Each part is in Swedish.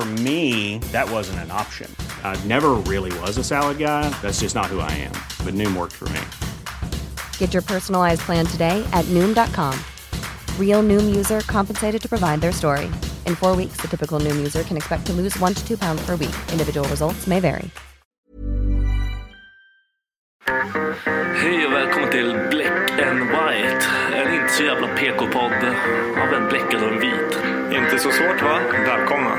For me, that wasn't an option. I never really was a salad guy. That's just not who I am. But Noom worked for me. Get your personalized plan today at Noom.com. Real Noom user compensated to provide their story. In four weeks, the typical Noom user can expect to lose one to two pounds per week. Individual results may vary. Hej och välkommen till Black and White. En inte så jävla PK-podd av en bläckad och en vit. Inte så svårt va? Välkomna.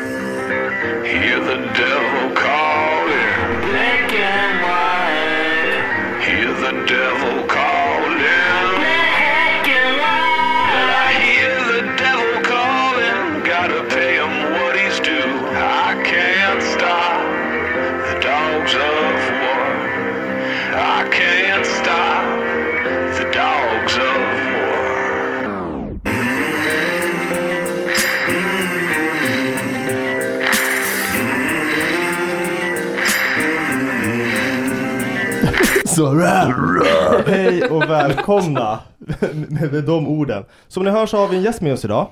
Hear the devil calling. Black and white. Hear the devil calling. Black and white. I hear the devil calling. Gotta pay him what he's due. I can't stop the dogs of war. I can't stop the dogs of war. Så rah, rah. Hej och välkomna med, med de orden. Som ni hör så har vi en gäst med oss idag.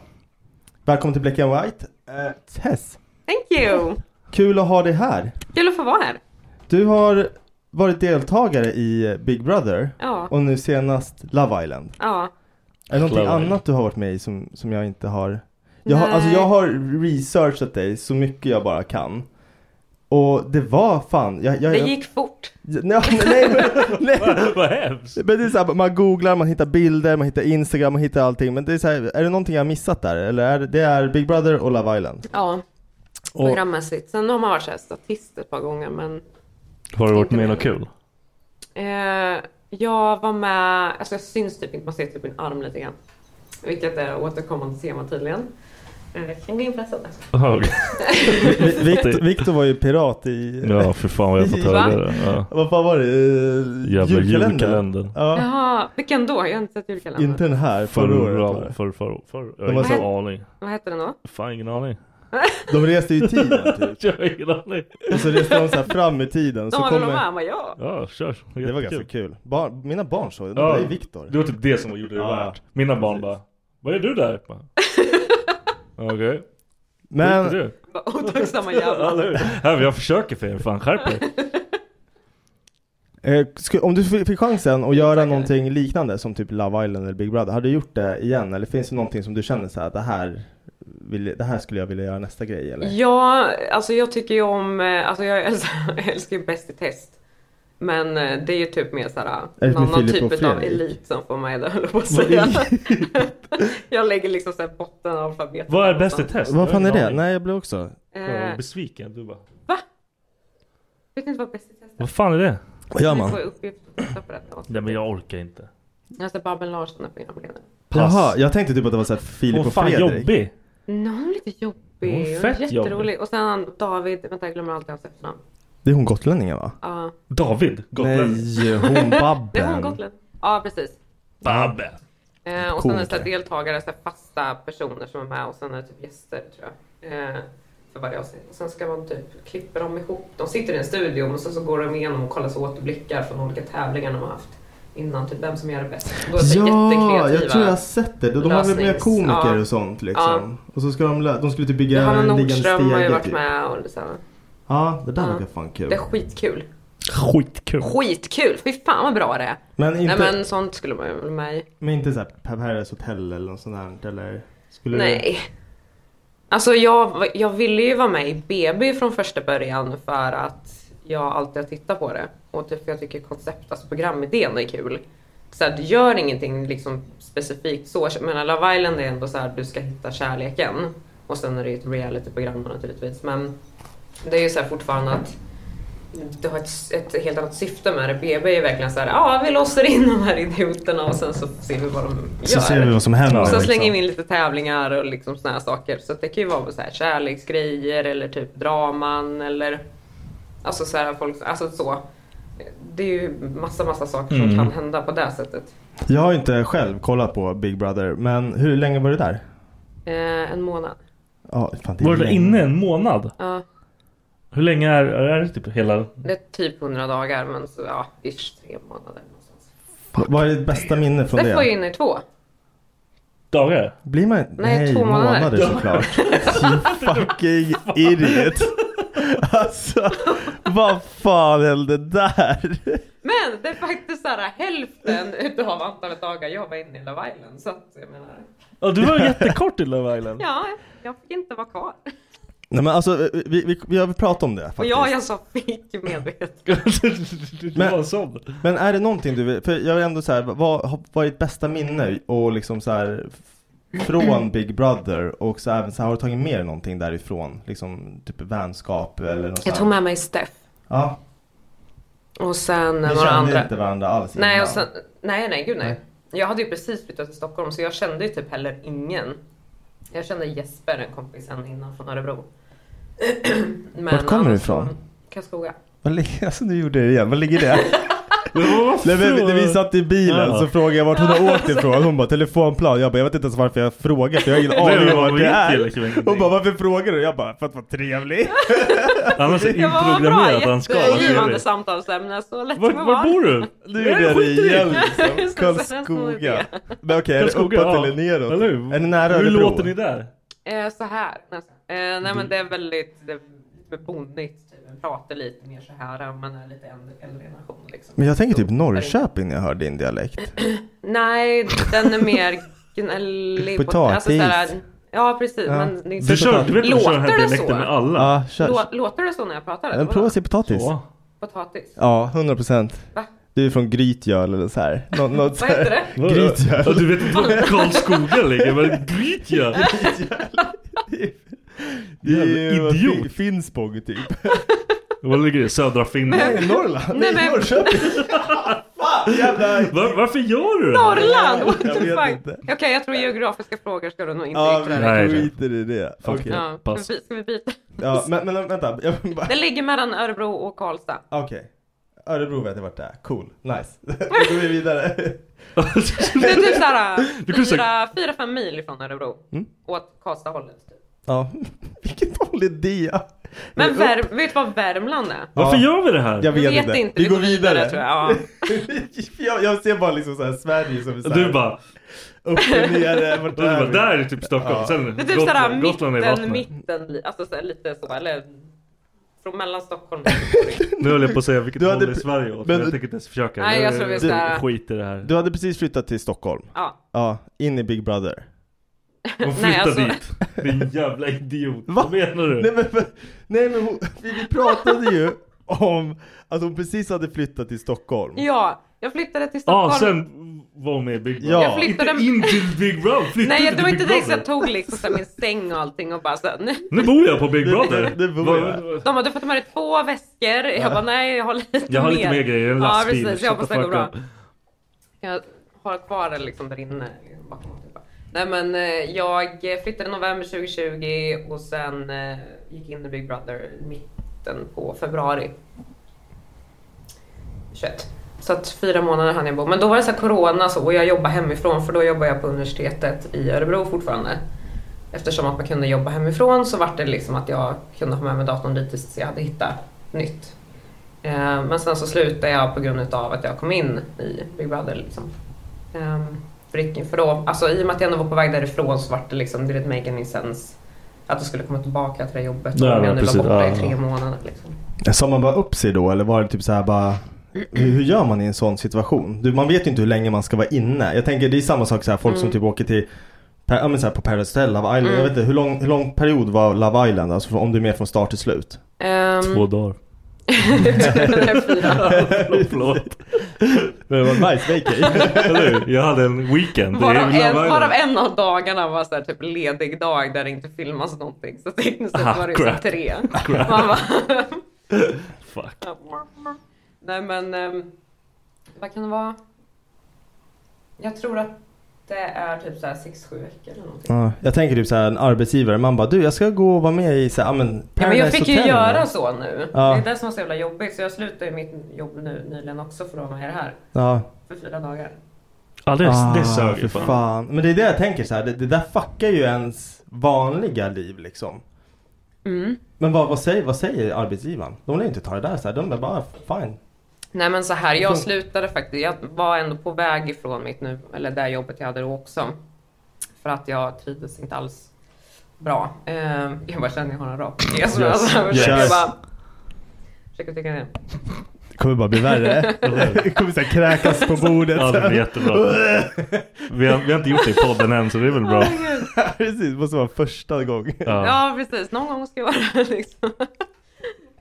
Välkommen till Black and White. Eh, Tess, Thank you! kul att ha dig här. Kul att få vara här. Du har varit deltagare i Big Brother Ja, och nu senast Love Island. ja. Är det någonting Love Island. annat du har varit med i som, som jag inte har? Jag har, Nej. alltså jag har researchat dig så mycket jag bara kan. Och det var fan, jag, jag, Det jag, gick fort. nej, nej, men- nej, Vad hemskt. Men det är så här, man googlar, man hittar bilder, man hittar Instagram, man hittar allting. Men det är så här, är det någonting jag har missat där? Eller är det, det är Big Brother och Love Island? Ja, Och, programmässigt. Sen har man varit så här statist ett par gånger, men Har du varit med i något kul? eh, jag var med, alltså jag syns typ inte, man ser typ min arm lite grann. Vilket är återkommande tema tydligen. Eh, kan gå in på det sättet. Ja, okej. Vi- Victor, Victor var ju pirat i, Ja, för fan vad jag har fått höra Va? det. Ja. vad fan var det? Eh, Jävla julkalendern. julkalendern. Ja, Jaha, vilken då? Jag har inte sett julkalendern. inte den här, förra året var Förra, det. förra, förra, förra. Jag De har var ingen så- aning. Vad hette den då? Fan ingen aning. De reste ju i tiden typ. Jag har ingen aning. Och så reste de så här fram i tiden. De Så var väl med? kommer... Han bara ja. Ja, kör. Det var ganska kul. Barn, mina barn såg det. Ja. Det är Victor. Det var typ det som gjorde det Ja. värt. Mina barn bara, vad gör du där? Jag bara, Okej, vad Men gjorde du? Bara, Otacksamma jävlar. Eller hur? Här, Jag försöker för er, fan skärp er. Eh, sku- om du f- fick chansen att göra Säkert. någonting liknande som typ Love Island eller Big Brother, hade du gjort det igen? Eller finns det någonting som du känner så här, det här, vill, det här skulle jag vilja göra nästa grej eller? Ja, alltså jag tycker ju om, eh, alltså jag älskar, jag älskar ju Bäst i test. Men eh, det är ju typ mer såhär, det en med annan Filip och typ av Fredrik? elit som får mig där höll jag på att säga. jag lägger liksom såhär botten av alfabetet. Vad är bäst i test? Jag har Vad fan är ingen det? aning. Nej jag blev också. Jag är Eh, besviken, du bara. vet ni inte vad Bäst i test är? Vad fan är det? Vad gör Ni får man? ju uppgift att titta på detta också. Nej men jag orkar inte. Alltså Babben Larsson är programledare. Pass. Jaha, jag tänkte typ att det var så här Filip Hon är och fan Fredrik. jobbig. Nej, hon är lite jobbig. Hon är fett jobbig. jätterolig. Och sen han David, vänta jag glömmer alltid hans efternamn. Det är hon gotlänningen va? Ja. David? Gotlänning? Nej, hon Babben. Det är hon Gotland. Ja, precis. Babben. Eh, och sen är det så Komiker. här deltagare, så här fasta personer som är med och sen är det typ gäster tror jag. Eh, för varje avsnitt. Och sen ska man typ klippa dem ihop. De sitter i en studio och sen så går de igenom och kollar så återblickar från olika tävlingar de har haft innan. Typ vem som gör det bäst. Då är det så Ja, jättekreativa- jag tror jag har sett det. De har väl med lösnings- komiker ja. och sånt liksom. Och så ska de, lä- de skulle typ bygga Johanna en liggande Nordström har ju stege, varit typ. med och så. här. Ja, det där Ja. verkar fan kul. Det är skitkul. Skitkul. Skitkul! Fy fan vad bra det är. Men inte, Nej men... men sånt skulle man ju vara med i. inte såhär Paradise Hotel eller något sånt där eller? Skulle du- Nej. Alltså jag, jag ville ju vara med i BB från första början för att jag alltid har tittat på det. Och typ för jag tycker koncept, alltså programidén är kul. Så här, du gör ingenting liksom specifikt så. Men Love Island är ändå så här, du ska hitta kärleken. Och sen är det ju ett realityprogram naturligtvis. Men det är ju så här fortfarande att det har ett, ett helt annat syfte med det. BB är verkligen så här, ja vi låser in de här idioterna och sen så ser vi vad de gör. Så ser vi vad som händer, Och sen liksom. slänger vi in lite tävlingar och liksom såna här saker. Så att det kan ju vara så här kärleksgrejer eller typ draman eller alltså så här folk, alltså så. Det är ju massa, massa saker som Mm. kan hända på det sättet. Jag har inte själv kollat på Big Brother, men hur länge var du där? Eh, en månad. Ja, fan, Var du där inne en månad? Ja, Hur länge är, är det typ hela? det är typ 100 dagar men så, ja, ish, tre månader. Vad är ditt bästa minne från Där får det? jag in i två. Dagar? Blir man... Nej, två månader. månader såklart. You fucking idiot. Alltså, vad fan hände där? Men det är faktiskt så här hälften utav antalet dagar jag var inne i Love Island. Så att jag menar, Ja, du var jättekort i Love Island. ja, jag fick inte vara kvar. Nej men alltså, vi, vi, vi har pratat om det faktiskt. Och ja, jag sa fick medvetet. Men, men är det någonting du vill, för jag vill ändå säga, vad, har- vad är ditt bästa minne och liksom så här f- från Big Brother och så även så här, har du tagit med dig någonting därifrån? Liksom typ vänskap eller något Jag så tog här? med mig Steff Ja, och sen ni några kände andra. inte varandra alls Nej, innan. och sen, nej, nej, gud nej. Jag hade ju precis flyttat till Stockholm så jag kände ju typ heller ingen. Jag kände Jesper, en kompis, en innan från Örebro. Men Vart kommer du annars ifrån? från Karlskoga. Vad ligger, alltså nu gjorde jag det igen, vad ligger det? Nej, men, när vi satt i bilen Ja. så frågade jag vart hon har åkt ifrån, hon bara telefonplan, jag bara jag vet inte ens varför jag frågar för jag har ingen Nej, aning om vart det men vad vet är. jag liksom Hon bara varför frågar du? Jag bara för att vara trevlig. Annars är Ja, vad inprogrammerat att han ska vara Jättegivande trevlig. samtalsämne, så lätt Var, som var bor du? Nu är det det igen liksom. Just det, så här små Karlskoga. Men okej, är det uppåt Karlskoga, ja. eller neråt? Eller hur? Är ni nära Hur Örebro? låter ni där? Eh, så här. nästan. Eh, nej men det är väldigt det är lite bonnigt. Typ. Man pratar lite mer så här om man är lite äldre äldre generation. Liksom. Men jag tänker typ Norrköping när jag hör din dialekt. Nej, den är mer gnällig. på- Potatis. så här- ja precis. Ja. Men det är inte- Du, kör, du vet att du kör den här Låter det så? dialekten med alla? Ja, kör. Lå, låter det så när jag pratar? Men Prova att säga potatis. Så. Potatis. Ja, 100 procent. Va? Du är från Grytgöl eller så här. Nå, något så Vad heter här. det? Grytgöl. Ja, du vet inte var Karlskoga ligger, men Grytgöl! Det är ju Jävla vad idiot. Fin- Finspång typ. Var ligger det? Södra Finland? Nej, Norrland. Nej, Nej, men- Norrköping. Fan, jävla... Var, varför gör du det? Norrland! What the Jag vet fuck? inte. Okej, jag tror geografiska frågor ska du nog inte Ja, yttra dig. Nej, vi det- skiter i det. Fuck Okej. it. Ja, Pass. ska vi- ska vi byta? Ja, men, men vänta. Jag vill bara... Det ligger mellan Örebro och Karlstad. Okej. Örebro vet jag vart det är. Cool. Nice. Då går vi vidare. Det är typ såhär Du kunde fyra, fyra, fem mil från Örebro. Åt Karlstadhållet. Typ. Mm. Ja. Vilket håll är det? Men Värm, vet du vad Värmland är? Varför Ja. gör vi det här? Jag vet, Jag vet inte. inte. Vi går vidare. tror jag. Ja. jag, jag ser bara liksom så här Sverige som är så här Du bara, upp och ner. Vart du bara, vi? där är typ Stockholm, Ja. sen Det är typ såhär Gotland, Gotland är mitten, vattnet. mitten. li- Alltså så här, lite så. Eller från mellan Stockholm och Göteborg. Nu höll jag på att säga vilket Du håll hade- i Sverige åt, men men- jag tänker inte ens försöka. Nej, jag tror vi ska- Skit i det här. Du hade precis flyttat till Stockholm. Ja. Ja, in i Big Brother. Hon Nej, flyttar alltså. dit. Din jävla idiot. Va? Vad menar du? Nej men, för- nej, men hon, vi vi pratade ju om att hon precis hade flyttat till Stockholm. ja, jag flyttade till Ja, Stockholm. sen var hon med i Big Brother. Ja. Jag flyttade- Inte in till Big Brother, flytta Nej, inte det var till inte Big direkt så Brother. jag tog liksom så här min säng och allting och bara så här, nu. Nu bor jag på Big Brother. nu- nu bor jag. Vad- De bara, du får ta med dig två väskor. Jag bara, nej jag har lite Jag har lite mer grejer, en lastbil. Ja, precis. Jag Shut hoppas the det går fuck bra. up. Jag har kvar det liksom där inne. liksom, bakom och tillbaka. Nej men eh, jag flyttade i november 2020 och sen eh, gick in i Big Brother mitt mitten på februari 21. Så att fyra månader hann jag bo. Men då var det så här corona så, och jag jobbade hemifrån för då jobbade jag på universitetet i Örebro fortfarande. Eftersom att man kunde jobba hemifrån så var det liksom att jag kunde ha med mig datorn dit tills jag hade hittat nytt. Eh, Men sen så slutade jag på grund av att jag kom in i Big Brother. Liksom. Eh, För, det- för då, alltså, I och med att jag ändå var på väg därifrån så var det liksom, det didn't make any sense att jag skulle komma tillbaka till det jobbet Nej, om men jag nu var precis, borta ja, i tre ja. månader. Liksom. Sa man bara upp sig då eller var det typ så här bara hur, hur gör man i en sån situation? Du, man vet ju inte hur länge man ska vara inne. Jag tänker det är samma sak så här folk som Mm. typ åker till Per- ja, men så här på Paradise Hotel, Love Island. Mm. Jag vet inte, hur lång, hur lång period var Love Island? Alltså om du är med från start till slut? Ehm. Två dagar. Förlåt. Men det var nice vacay. Eller hur? Jag hade en weekend. Varav Det är ju en, Love Island. varav en av dagarna var så här typ ledig dag där det inte filmas någonting. Så tekniskt Ah, sett var det ju crap. så tre. Crap. Man bara... Fuck. Nej men, ehm, vad kan det vara? Jag tror att det är typ så här 6-7 veckor eller någonting. Ja, jag tänker typ så här en arbetsgivare, man bara du jag ska gå och vara med i så här, ja, men Ja, men jag Paradise fick ju Hotel, göra va? så nu. Ja. Det är det som var så jävla jobbigt. Så jag slutade ju mitt jobb nu nyligen också för att vara med i det här. Ja. För fyra dagar. Ja det, det sög för ju Ah, fan. fan. Men det är det jag tänker så här. Det, det där fuckar ju ens vanliga liv liksom. Mm. Men vad, vad, säger, vad säger arbetsgivaren? De vill inte ta det där så här. De är bara fine. Nej men så här, jag Fun- slutade faktiskt. Jag var ändå på väg ifrån mitt nu, eller det jobbet jag hade då också. För att jag trivdes inte alls bra. Eh, jag bara känner att jag har en rak idé. Så Yes. alltså, jag försöker Yes. bara... Försöker tycka ner. Det kommer bara bli värre. det kommer så här kräkas på bordet. Ja det blir jättebra. Vi har, vi har inte gjort det i podden än så det är väl bra. Precis, det måste vara första gången. Ja. precis, någon gång ska jag vara där liksom.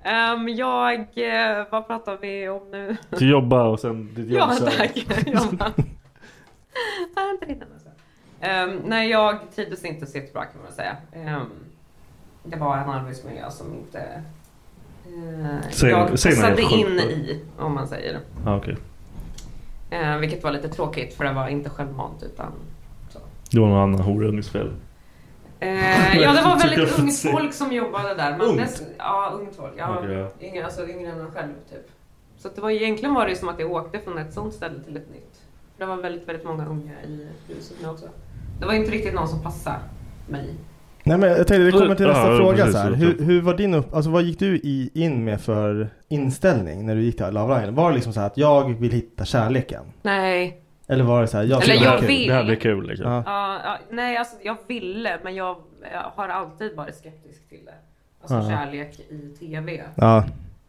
Ehm, jag, eh, vad pratar vi om nu? Du jobbar och sen ditt jobb Ja sög. tack. Jobba. Ah, inte riktigt, alltså. Ehm, nej jag trivdes inte så jättebra kan man säga. Ehm, det var en arbetsmiljö som inte eh, Säg- jag säg något passade helt in sjukt då. i om man säger. Ja okej. Eh, vilket var lite tråkigt för det var inte självmant utan Det var någon annan horunges fel. Eh, ja, det var Tycker jag väldigt får ungt se. folk som jobbade där. Men Ungt? dess- ja, ungt folk. Ja, Okej, ja. yngre, alltså yngre än en själv, typ. Så att det var, egentligen var det ju som att jag åkte från ett sånt ställe till ett nytt. För det var väldigt, väldigt många unga i huset nu också. Det var inte riktigt någon som passade mig. Nej men jag tänkte vi kommer till Ja, nästa ja, fråga precis, så här. ja, Hur, hur var din upp, alltså vad gick du i, in med för inställning när du gick till Love Island? Var det liksom så här att jag vill hitta kärleken? Nej. Eller var det så här, jag Eller tycker jag det är kul? vill. Det här blir kul liksom. Ja. Ja, ja, nej, alltså jag ville, men jag, jag har alltid varit skeptisk till det. Alltså Ja. kärlek i TV. Ja.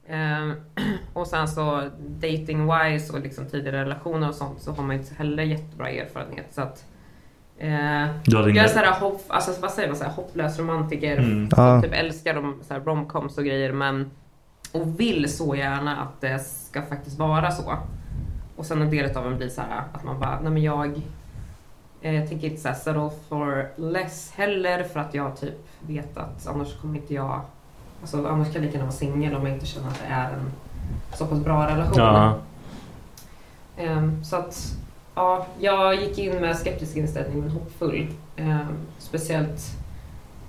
Ehm, och sen så dating wise och liksom tidigare relationer och sånt så har man inte heller jättebra erfarenhet. Så att, Du eh, hade jag är inga- så här hopp, alltså, vad säger man, så här, hopplös romantiker Mm. som Ja. typ älskar de, så här, romcoms och grejer men och vill så gärna att det ska faktiskt vara så. Och sen en del av en blir så här att man bara, nej men jag eh, jag tänker inte så här settle for less heller för att jag typ vet att annars kommer inte jag... Alltså annars kan jag lika gärna vara singel om jag inte känner att det är en så pass bra relation. Ja. Ehm, så att ja, jag gick in med skeptisk inställning men hoppfull. Ehm, speciellt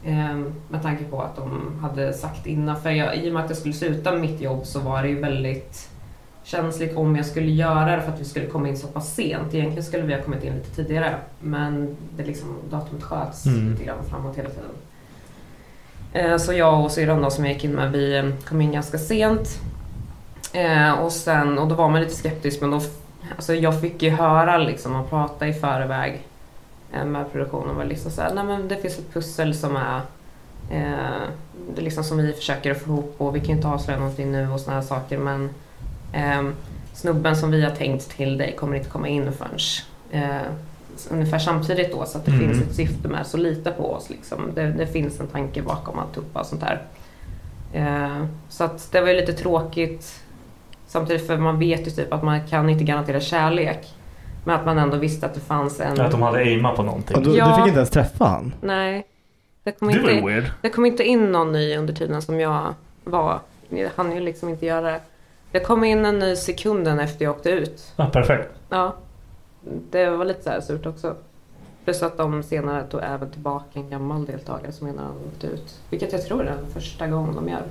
ehm, med tanke på att de hade sagt innan. För jag, i och med att jag skulle sluta mitt jobb så var det ju väldigt känsligt om jag skulle göra det för att vi skulle komma in så pass sent. Egentligen skulle vi ha kommit in lite tidigare men det liksom, datumet sköts Mm. lite grann framåt hela tiden. Eh, Så jag och syrran då som jag gick in med, vi eh, kom in ganska sent. Eh, och, sen, och då var man lite skeptisk men då, f- alltså jag fick ju höra liksom, man pratade i förväg eh, med produktionen var liksom såhär, nej men det finns ett pussel som är eh, det är liksom som vi försöker få ihop och vi kan ju inte avslöja någonting nu och såna här saker men ehm, snubben som vi har tänkt till dig kommer inte komma in förrän eh, ungefär samtidigt då så att det Mm. finns ett syfte med så lita på oss liksom. det, det finns en tanke bakom alltihopa och sånt där. Eh, så att det var ju lite tråkigt samtidigt för man vet ju typ att man kan inte garantera kärlek men att man ändå visste att det fanns en... Att de hade aimat på någonting. Och du, du fick inte ens träffa han? Nej. Det kom, Det var ju inte, weird. det kom inte in någon ny under tiden som jag var. Jag hann ju liksom inte göra det. Det kom in en ny sekunden efter jag åkte ut. Ja, perfekt. Ja. Det var lite så här surt också. Plus att de senare tog även tillbaka en gammal deltagare som innan han åkte ut. Vilket jag tror är den första gången de gör.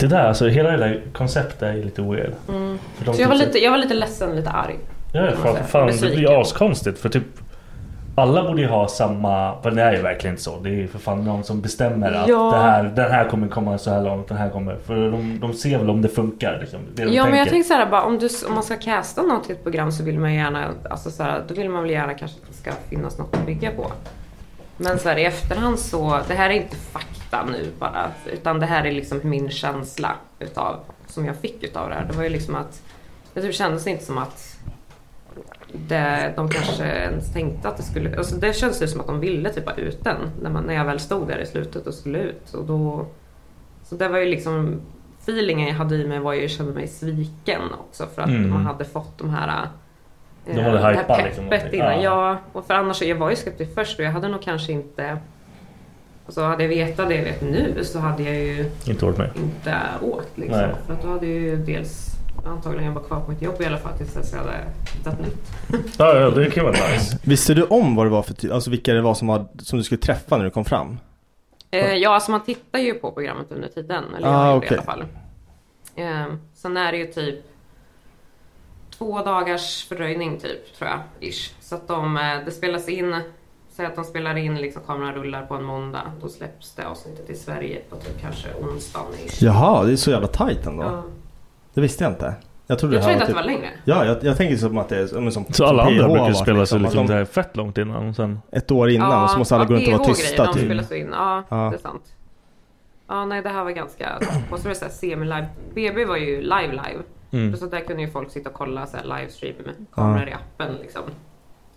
Det där alltså, hela det där konceptet är ju lite weird. Mm. För de Så jag var, typ- lite, jag var lite ledsen, lite arg. Ja, kan man fan, säga. fan det Besviken. blir ju askonstigt för typ alla borde ju ha samma, men det är ju verkligen inte så. Det är ju för fan någon som bestämmer att Ja. det här, den här kommer komma så här långt, den här kommer. För de, de ser väl om det funkar. Liksom, det de Ja men jag tänker. tänkte såhär bara om, du, om man ska casta något till ett program så vill man ju gärna, alltså såhär, då vill man väl gärna kanske att det ska finnas något att bygga på. Men såhär i efterhand så, det här är inte fakta nu bara, utan det här är liksom min känsla utav, som jag fick utav det här. Det var ju liksom att, det typ kändes inte som att det, de kanske ens tänkte att det skulle, alltså det kändes ju som att de ville typ ha ut den när, man, när jag väl stod där i slutet och skulle ut. Och då, så det var ju liksom feelingen jag hade i mig var ju jag kände mig sviken också för att Mm. man hade fått de här eh, De hade det här hypat liksom peppet någonting. innan. Ja. Ja, och för annars jag var ju skeptisk först och jag hade nog kanske inte Alltså hade jag vetat det jag vet nu så hade jag ju Inte varit med. inte åkt liksom. Nej. För att då hade jag ju dels antagligen jobbat kvar på mitt jobb i alla fall tills dess jag hade hittat nytt. Ja, ja, det kan vara nice. Visste du om vad det var för ty- alltså vilka det var som, var, som du skulle träffa när du kom fram? Eh, ja, alltså man tittar ju på programmet under tiden. Eller Ah, jag gjorde det okej. i alla fall. Eh, sen är det ju typ två dagars fördröjning typ, tror jag. Ish. Så att de, eh, det spelas in, säg att de spelar in, liksom kameran rullar på en måndag. Då släpps det avsnittet i Sverige på typ kanske onsdagen ish. Jaha, det är så jävla tajt ändå. Ja. Det visste jag inte. Jag trodde Jag det här trodde att typ... det var längre. Ja, jag, jag tänker som att det är ja, men som, Så alla som andra PH brukar har ju varit, spela sig liksom, att det de, här fett långt innan. Och sen... Ett år innan och så måste alla gå runt och vara PH-grejer, tysta De typ. spelas in. Ja, Ja. det är sant. Ja, nej det här var ganska, vad ska jag säga, semi-live. BB var ju live-live. Mm. Så där kunde ju folk sitta och kolla så här livestream med kameror i appen liksom.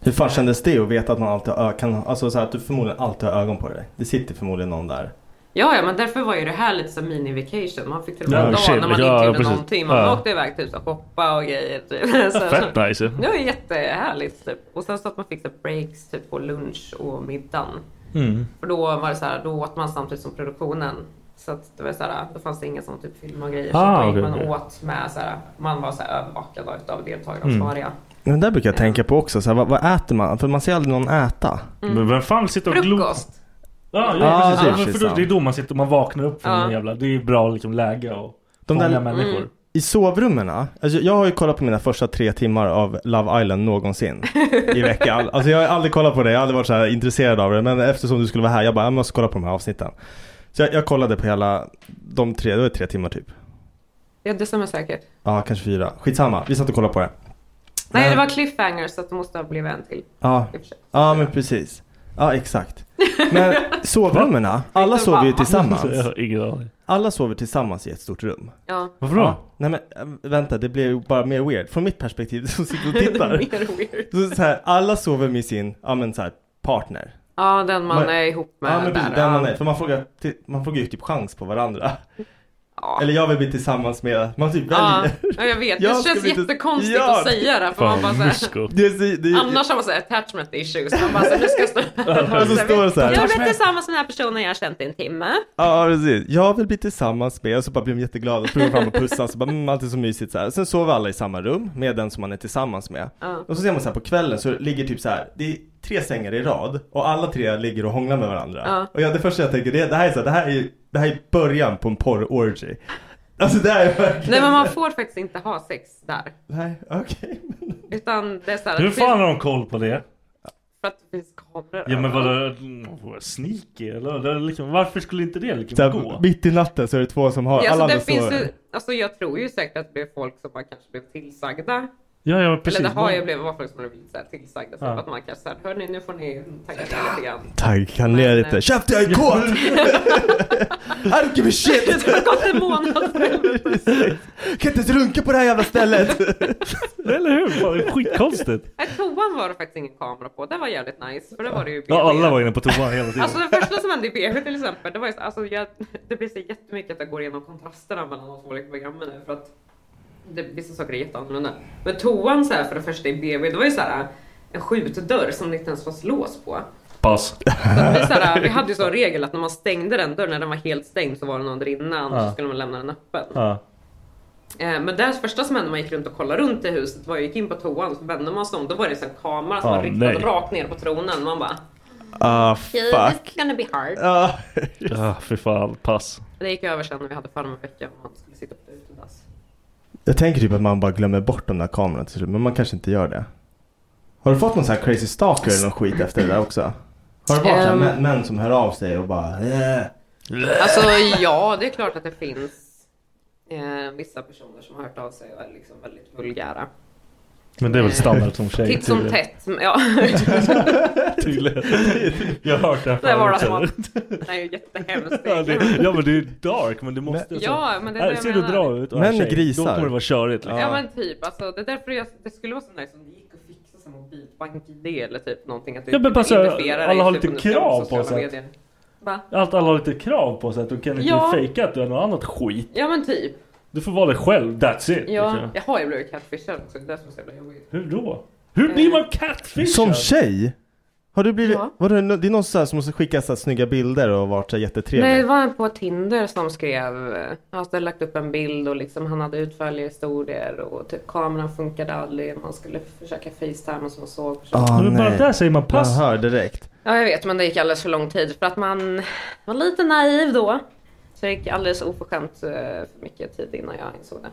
Hur fan kändes det att veta att man alltid har ö- kan, alltså så här, att du förmodligen alltid har ögon på dig? Det sitter förmodligen någon där. Ja, ja, men därför var ju det här lite som mini-vacation. Man fick till och med Ja, en dag shit, när man ja, inte gjorde precis. någonting. Man Ja. åkte iväg typ så här, hoppa och grejer. Typ. Så, fett nice ju. Det var jättehärligt typ. Och sen så att man fick typ breaks typ på lunch och middagen. Mm. För då var det så här, då åt man samtidigt som produktionen. Så att det var så här, då fanns det ingen som typ filmade och grejer. Ah, så då okej, gick man okej. åt med så här, man var så här övervakad av deltagaransvariga. Men där brukar jag tänka på också, så här, vad, vad äter man? För man ser aldrig någon äta. Ah, Mm. Men vem fan sitter och glor? Frukost. Ja, ja, Ja, det är precis. Det är, precis för då, sant. det är då man sitter man vaknar upp från Ja. den jävla... Det är ju bra liksom, läge och De fånga där- människor. Mm. I sovrummen, alltså jag har ju kollat på mina första tre timmar av Love Island någonsin i veckan. Alltså jag har aldrig kollat på det, jag har aldrig varit så här intresserad av det. Men eftersom du skulle vara här, jag bara, jag måste kolla på de här avsnitten. Så jag, jag kollade på hela, de tre, det var tre timmar typ. Ja, det stämmer säkert. Ja, kanske fyra. Skitsamma, vi satt och kollade på det. Nej, det var cliffhanger så att det måste ha blivit en till. Ja, ja men precis. Ja, exakt. Men sovrummen, alla sover ju tillsammans. Jag har ingen aning. Alla sover tillsammans i ett stort rum. Ja. Varför då? nej men äh, vänta, det blir ju bara mer weird. Från mitt perspektiv som sitter och tittar. Det är mer weird. så, så här, alla sover med sin, ja men så här, partner. Ja, den man är ihop med Ja men där. precis, den man Ja. är. För man frågar, till- man frågar ju typ chans på varandra. Eller jag vill bli tillsammans med, man typ Ja, väljer. ja, jag vet. Jag Det ska känns bli- jättekonstigt Ja, att säga det. här, För man bara så här, Det är, så- det är, annars har man så här Alltså, attachment issues. Man bara så här, nu ska jag stå Och så står det så här. Jag blev tillsammans med den här personen jag har känt i en timme. Ja precis, jag vill bli tillsammans med, och så bara blir de jätteglada och springer fram och pussar, så bara mm, allt är så mysigt så här. Sen sover alla i samma rum med den som man är tillsammans med. Ja. Och så ser man så här på kvällen så ligger typ så här, det är tre sängar i rad och alla tre ligger och hånglar med varandra. Ja. Och jag, det första jag tänker det, det här är så här, det här är, det här är början på en porr-orgy. Alltså det här är verkligen... Nej men man får faktiskt inte ha sex där. Nej, okej. Utan det är så här, Hur det finns- fan har de koll på det? För att det finns kameror. Ja men vadå, vadå, sneaky eller? Det är Liksom, varför skulle inte det Så liksom här, gå? mitt i natten så är det två som har, Ja, alla alltså, det andra finns sover. ju, alltså jag tror ju säkert att det blev folk som bara kanske blev tillsagda. Ja, ja, precis. Eller det har ju blivit var folk som har blivit så här tillsagda. Så Ja. att man kanske såhär, hörni nu får ni tagga till lite grann. Tagga ner lite, käften jag är kåt! I don't give a shit! Det har gått en månad Kan inte ens runka på det här jävla stället! Eller hur? Fan, det är skitkonstigt. Nej, Toan var det faktiskt ingen kamera på. Det var jävligt nice. För det var det ju Ja, alla var inne på toan hela tiden. Alltså det första som hände i BH till exempel, det var ju så- alltså jag, det blir så jättemycket att jag går igenom kontrasterna mellan de två olika programmen nu för att det, vissa saker är jätteannorlunda. Men toan så här för det första i BB, det var ju så här en skjutdörr som det inte ens fanns lås på. Pass. Vi, så här, vi hade ju som regel att när man stängde den dörren, när den var helt stängd så var det någon där inne, annars Ja. skulle man lämna den öppen. Ja. Eh, Men det första som hände när man gick runt och kollade runt i huset var jag gick in på toan så vände man sig om, då var det så här en kamera som Ah, var riktad nej. liksom rakt ner på tronen. Man bara Ah "Okay, fuck. Ah, Ah, this is gonna be hard. Ja. Ja, fy fan. Pass. Det gick över sen när vi hade farmarvecka och man skulle sitta på det utedass. Jag tänker typ att man bara glömmer bort de där kamerorna till slut, men man kanske inte gör det. Har du fått någon sån här crazy stalker eller någon skit efter det där också? Har det varit um, Ehm. män, män som hör av sig och bara "Eh." Alltså ja, det är klart att det finns eh, vissa personer som har hört av sig och är liksom väldigt vulgära. Men det är väl standard som tjej? Titt som tydligen. tätt. men- Ja. Tydligen. Jag har hört det här Det var det. förut. Det är ju jättehemskt. Ja, det, ja men det är ju dark men det måste... Men- Ja, men det är här, det jag ser du menar. dra ut och är Män är tjej, Då grisar. kommer det vara körigt. liksom. Ja men typ alltså det är därför jag, det skulle vara så nice om det gick att fixa som mobilbank-id eller typ någonting. Att du Ja, men typ passa, identifierar dig alla har typ lite om du ska krav sociala på sig. medier. Va? Allt alla har lite krav på sig att du kan inte Ja. fejka att du är något annat skit. Ja men typ. Du får vara dig själv, that's it. Ja, liksom. jag har ju blivit catfishad också. Det är det som är så jävla jobbigt. Eh, Hur då? Hur blir man catfishad? Som tjej? Har du blivit, Ja. vadå, det är någon så här som måste skicka så här snygga bilder och varit så här jättetrevlig? Nej, det var en på Tinder som skrev, eh, han hade lagt upp en bild och liksom han hade utförliga historier och typ kameran funkade aldrig. Man skulle försöka facetime som man såg. Ah, Men bara nej. där säger man pass. Man hör direkt. Ja, jag vet, men det gick alldeles för lång tid för att man var lite naiv då. Så det gick alldeles oförskämt eh, för mycket tid innan jag insåg det.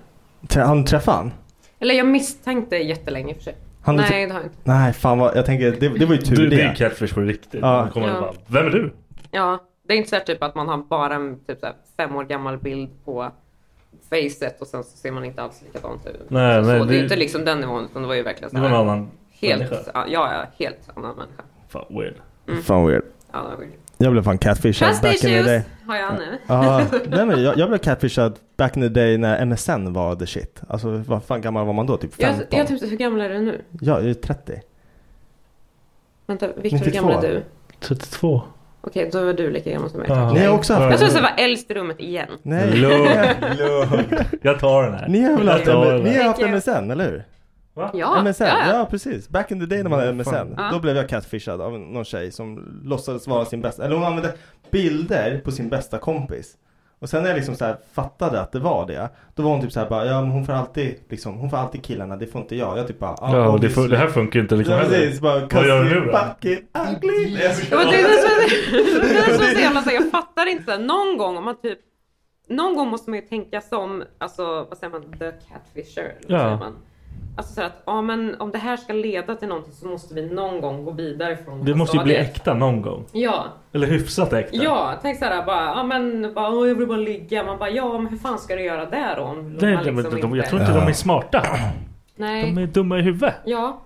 Trä- Han träffade han? Eller jag misstänkte jättelänge i och för sig. Han- Nej, det har jag inte. Nej fan vad, jag tänker, det, det var ju tur Du, det. det är catfish på riktigt. Ja. Då kommer Ja. ja. bara, Vem är du? Ja, det är inte så här typ att man har bara en typ så här fem år gammal bild på facet och sen så ser man inte alls likadant ut. Nej, så, nej, så, det är det- inte liksom den nivån utan det var ju verkligen så Det var här en annan helt, människa. ja, ja, helt annan människa. Fan weird. Mm. Fan weird. Ja, det var weird. Jag blev fan catfishad Trust back in the issues day. har jag nu. Ja, nej men jag, jag blev catfishad back in the day när MSN var the shit. Alltså vad fan gammal var man då? Typ Jag, 15? jag typ, hur gammal är du nu? Ja, jag är 30. Vänta, Victor, hur gammal är du? 32. Okej, då var du lika gammal som mig. Ja. tack. Ni har också haft- jag tror jag var äldst i rummet igen. Nej. Lugn. Jag tar den här. Ni har väl Jag haft, tar den ni här. har haft Thank you. MSN, eller hur? Va? Ja, MSN, ja. ja. precis. Back in the day när man hade Mm, MSN. fan. Ja. Då blev jag catfishad av någon tjej som låtsades vara sin bästa, eller hon använde bilder på sin bästa kompis. Och sen när jag liksom så här fattade att det var det, då var hon typ så här bara, ja men hon får alltid, liksom, hon får alltid killarna, det får inte jag. Jag typ bara, ah, Ja, och det, obviously. fun- det här funkar ju inte liksom Ja, heller. precis, bara, Vad gör du nu då? Fucking ugly! Nej, jag Ja, skojar. men det är det som är- det är det som är så jävla så här, jag fattar inte. Någon gång om man typ Någon gång måste man ju tänka som, alltså vad säger man, the catfisher? Eller vad Ja. säger man? Alltså så här att, ja men om det här ska leda till någonting så måste vi någon gång gå vidare från Det här måste ju bli stadiet. äkta någon gång. Ja, Eller hyfsat äkta. ja, tänk såhär bara, ja men bara, "Åh, jag vill bara ligga. Man bara, ja men hur fan ska du göra det då? Om Det, man det, men liksom de, jag inte- tror inte de är smarta. Nej, De är dumma i huvudet. ja.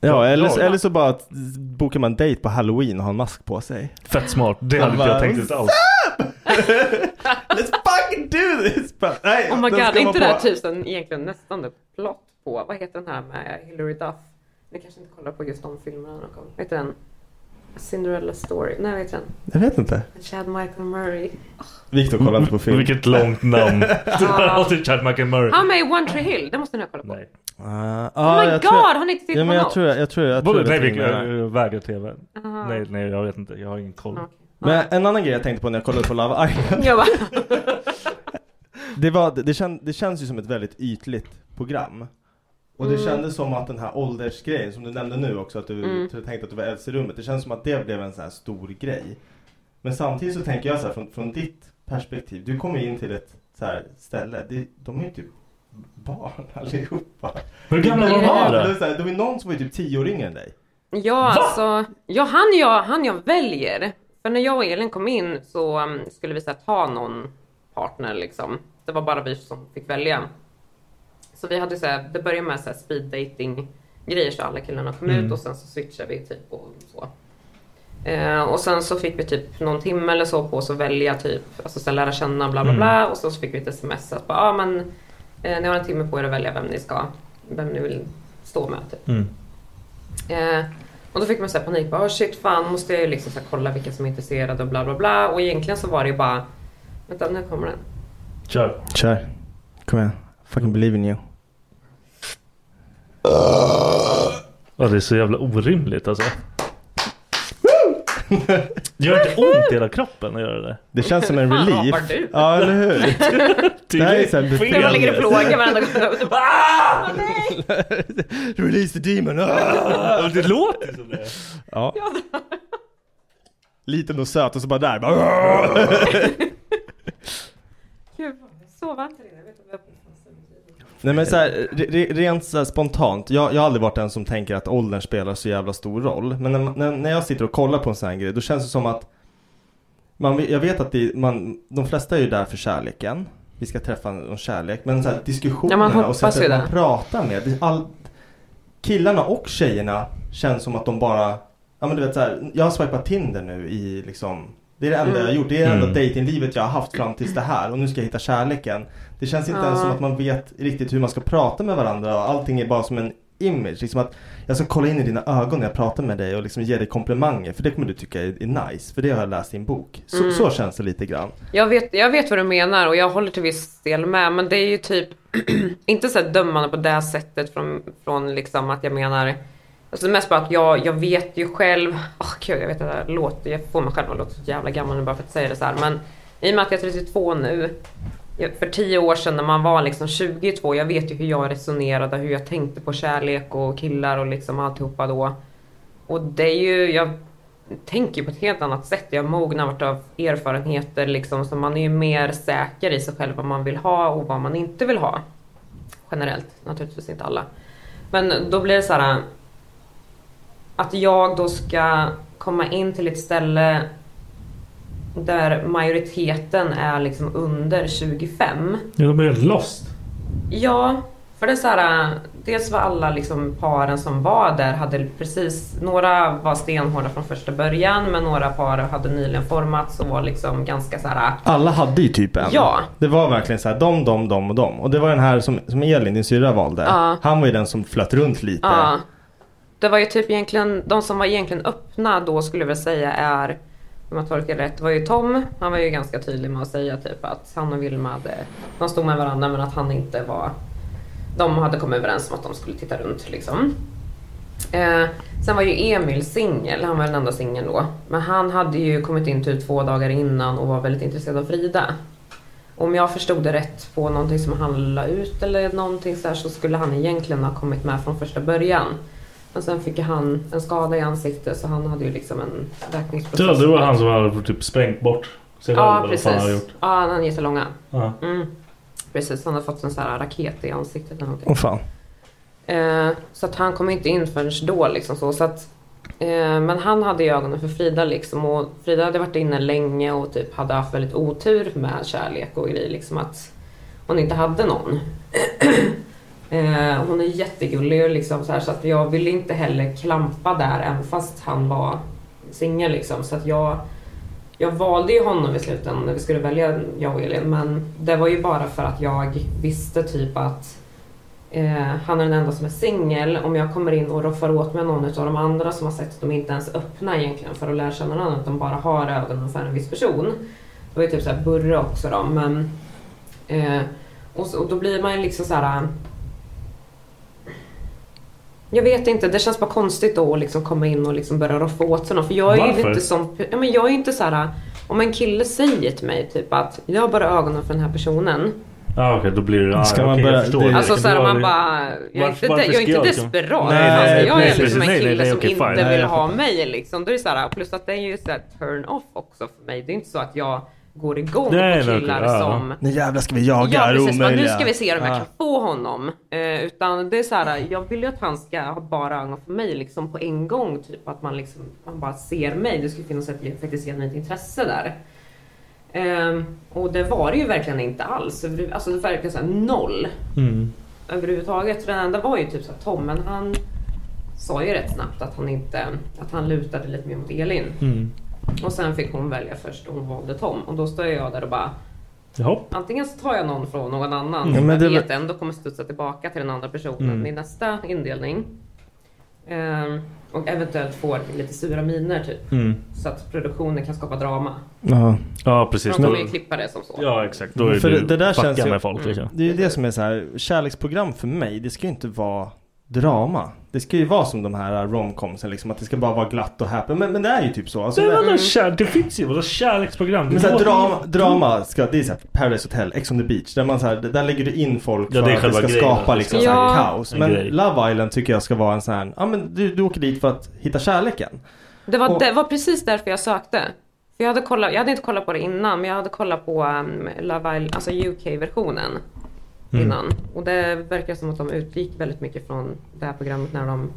Ja, eller, Ja. eller så bara bokar man dejt på halloween och har en mask på sig. Fett smart. Det hade inte jag tänkt ut alls. Let's fucking do this! Bara, Nej, Oh my den god, ska är man inte det här på. tusen egentligen nästan det plott på? Vad heter den här med Hillary Duff? Ni kanske inte kollar på just de filmerna när de kom. Vad heter den? A Cinderella Story? Nej, vad heter den? Jag vet inte. Chad Michael Murray. Viktor kollar inte på film. Vilket långt namn. Det var alltid Chad McMurray. Han är med i One Tree Hill, det måste ni ha kollat på. Nej. Ah, Oh ah, my jag god, tror- har ni inte tittat ja, på men jag något? tror jag, jag tror jag tror Både, nej, jag vet vi vilken det är. jag vägrar TV. Aha. Nej, nej, jag vet inte. Jag har ingen koll. Okej. Men en annan grej jag tänkte på när jag kollade på Love Island. Jag bara, Det, var, det, det, kän, det känns ju som ett väldigt ytligt program. Och det kändes som att den här åldersgrejen som du nämnde nu också att du Mm. tänkte att du var äldst i rummet. Det känns som att det blev en sån här stor grej. Men samtidigt så tänker jag så här från, från ditt perspektiv. Du kommer in till ett så här ställe. Det, de är ju typ barn allihopa. Hur gamla var Ja. han Det då? är så här, det var ju någon som var ju typ tio år yngre än dig. ja alltså, ja, han, jag, han jag väljer. För när jag och Elin kom in så um, skulle vi så här, ta någon partner liksom. Det var bara vi som fick välja. Så vi hade så här, det började med så här speed dating grejer så alla killarna kom ut och sen så switchade vi typ och så. Eh, och sen så fick vi typ någon timme eller så på oss att välja typ, alltså så här, lära känna bla bla bla och så, så fick vi ett sms att bara, ah, men eh, ni har en timme på er att välja vem ni ska, vem ni vill stå med typ. Mm. Eh, och då fick man så här panik, bara oh, shit fan måste jag ju liksom så här, kolla vilka som är intresserade och bla bla bla och egentligen så var det ju bara, vänta nu kommer den. Kör. Kör. Kom igen. Fucking believe in you. Ja, det är så jävla orimligt alltså. Det gör inte ont i hela kroppen att göra det. Det känns som en Fan, relief. apar du? Ja, eller hur? Det här är så här När man ligger och befriande. plågar varandra och typ, ah, nej! Release the demon! Ah! Ja, Det låter som det. Ja. Liten och söt och så bara där. Bara... sova. Nej men så här, re, re, rent så här spontant, jag, jag har aldrig varit den som tänker att åldern spelar så jävla stor roll. Men när, när, när jag sitter och kollar på en sån här grej, då känns det som att man, ve- jag vet att det, man, de flesta är ju där för kärleken. Vi ska träffa någon kärlek. Men så här, Ja, diskussionerna man och hoppas ju sättet det. man pratar med. det- All, killarna och tjejerna känns som att de bara, ja men du vet så här, jag har swipat Tinder nu i liksom det är det enda jag har gjort. Det är det enda Mm. dejtinglivet jag har haft fram tills det här. Och nu ska jag hitta kärleken. Det känns inte Ja. ens som att man vet riktigt hur man ska prata med varandra. Och allting är bara som en image. Liksom att jag ska kolla in i dina ögon när jag pratar med dig och liksom ge dig komplimanger. För det kommer du tycka är, är nice. För det har jag läst i en bok. Så, Mm. så känns det lite grann. Jag vet, jag vet vad du menar och jag håller till viss del med. Men det är ju typ inte så här dömande på det sättet från, från liksom att jag menar. Alltså mest bara att jag, jag vet ju själv. Åh gud, jag vet att det här låter, jag får mig själv att låta så jävla gammal nu bara för att säga det så här. Men i och med att jag är 32 nu. jag- För 10 år sedan när man var liksom 22, jag vet ju hur jag resonerade, hur jag tänkte på kärlek och killar och liksom alltihopa då. Och det är ju, jag tänker ju på ett helt annat sätt. Jag mognar varit av erfarenheter liksom, så man är ju mer säker i sig själv vad man vill ha och vad man inte vill ha. Generellt, naturligtvis inte alla. Men då blir det så här äh, att jag då ska komma in till ett ställe där majoriteten är liksom under 25. Ja, de är helt lost. Ja, för det är så här. Dels var alla liksom paren som var där hade precis, några var stenhårda från första början men några par hade nyligen formats och var liksom ganska så här. Alla hade ju typ en. Ja. Det var verkligen så här, de, de, de och de. Och det var den här som, som Elin, din syrra valde. Ja. Han var ju den som flöt runt lite. Ja. Det var ju typ egentligen, de som var egentligen öppna då skulle jag vilja säga är, om jag tolkar det rätt, var ju Tom. Han var ju ganska tydlig med att säga typ att han och Vilma hade, de stod med varandra men att han inte var, de hade kommit överens om att de skulle titta runt liksom. Eh, sen var ju Emil singel, han var den enda singeln då. Men han hade ju kommit in typ två dagar innan och var väldigt intresserad av Frida. Om jag förstod det rätt på någonting som han la ut eller någonting så här så skulle han egentligen ha kommit med från första början. Men sen fick ju han en skada i ansiktet så han hade ju liksom en läkningsprocess. Ja, det var han som hade typ sprängt bort sig själv. Ja, eller vad precis. fan han hade gjort. Ja, han har jättelånga. Ja. Mm. Precis, han har fått en sån här raket i ansiktet eller någonting. Åh fan. Eh, så att han kom inte in förrän då liksom så. så att, eh, men han hade ju ögonen för Frida liksom och Frida hade varit inne länge och typ hade haft väldigt otur med kärlek och grejer liksom att hon inte hade någon. eh, hon är jättegullig och liksom så här så att jag ville inte heller klampa där även fast han var singel liksom så att jag jag valde ju honom i slutändan när vi skulle välja jag och Elin men det var ju bara för att jag visste typ att Eh, han är den enda som är singel. Om jag kommer in och roffar åt mig någon av de andra som har sett att de inte ens öppnar egentligen för att lära känna någon, att de bara har ögonen för en viss person. Det var ju typ såhär Burre också då, men... Eh, och, så, och då blir man ju liksom så här. Jag vet inte, det känns bara konstigt då att liksom komma in och liksom börja roffa åt sig någon. För jag är ju Varför? inte sån... Ja, men jag är ju inte så här. eh, Om en kille säger till mig typ att jag har bara ögonen för den här personen. Ja okej, då blir det... Ah, Ska man okej, börja- jag förstår. det- det. Alltså Det såhär var man det- bara, jag är Varför- inte, varför jag är ska jag inte liksom- desperat. Nej, alltså, nej, jag precis, är liksom en nej, nej, kille nej, som okej, fine. inte Nej, vill jag ha fattar. mig liksom. Då är det såhär, plus att det är ju såhär turn off också för mig. Det är inte så att jag går igång på killar som... Nu jävlar ska vi jaga Ja det precis, bara, nu omöjliga. ska vi se om jag Ja. kan få honom. Eh, utan det är så här, jag vill ju att han ska ha bara ögon för mig liksom på en gång. Typ att man liksom, man bara ser mig. Det skulle finnas ett faktiskt genuint intresse där. Ehm, och det var det ju verkligen inte alls. Över- Alltså det var verkligen så här noll Mm. överhuvudtaget. Den enda var ju typ så här Tom, men han sa ju rätt snabbt att han inte, att han lutade lite mer mot Elin. Mm. Och sen fick hon välja först och hon valde Tom. Och då står jag där och bara Jaha. Antingen så tar jag någon från någon annan Mm, som men jag det är vet väl- ändå kommer studsa tillbaka till den andra personen Mm. i nästa indelning. Ehm, och eventuellt får lite sura miner typ. Mm. Så att produktionen kan skapa drama. Ja. Mm. Ja precis. De kommer Då- ju klippa det som så. Ja exakt. Då är För du det, det där fucka känns ju, Mm. med folk liksom. Det är ju det som är så här, kärleksprogram för mig, det ska ju inte vara drama. Det ska ju vara som de här romcomsen liksom, att det ska bara vara glatt och happy. Men, men det är ju typ så. Alltså, Men vadå det, kär, det finns ju vadå kärleksprogram? men så här, Det låter- drama, drama ska, det är så här Paradise Hotel, Ex on the Beach. Där, man så här, där lägger du in folk Ja, det för är att det själva ska grejen, att skapa det liksom ska- så Ja. här, kaos. En Men grej. Love Island tycker jag ska vara en sån här, ja men du, du åker dit för att hitta kärleken. Det var, Och- det var precis därför jag sökte. För jag, hade kollat, jag hade inte kollat på det innan, men jag hade kollat på um, Love Island, alltså UK-versionen Mm. innan. Och det verkar som att de utgick väldigt mycket från det här programmet när de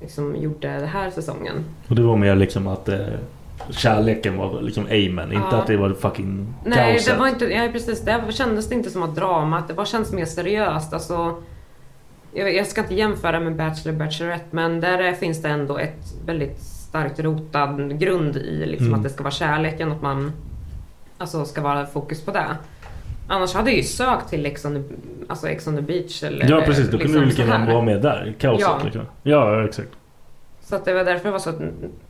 liksom gjorde den här säsongen. Och det var mer liksom att eh, kärleken var liksom aimen. Inte Ja. att det var fucking Nej, kaoset. det var inte, ja, precis, det kändes det inte som att drama. Det var, kändes mer seriöst. Alltså, jag, jag ska inte jämföra med Bachelor och Bachelorette, men där är- finns det ändå ett väldigt starkt rotad grund i liksom, Mm. att det ska vara kärleken, att man alltså, ska vara fokus på det. Annars hade jag ju sökt till Ex on the, alltså Ex on the beach. Eller, Ja precis, då kunde du lika så här. gärna vara med där. Kaoset Ja. liksom. Ja exakt. Så att det var därför det var så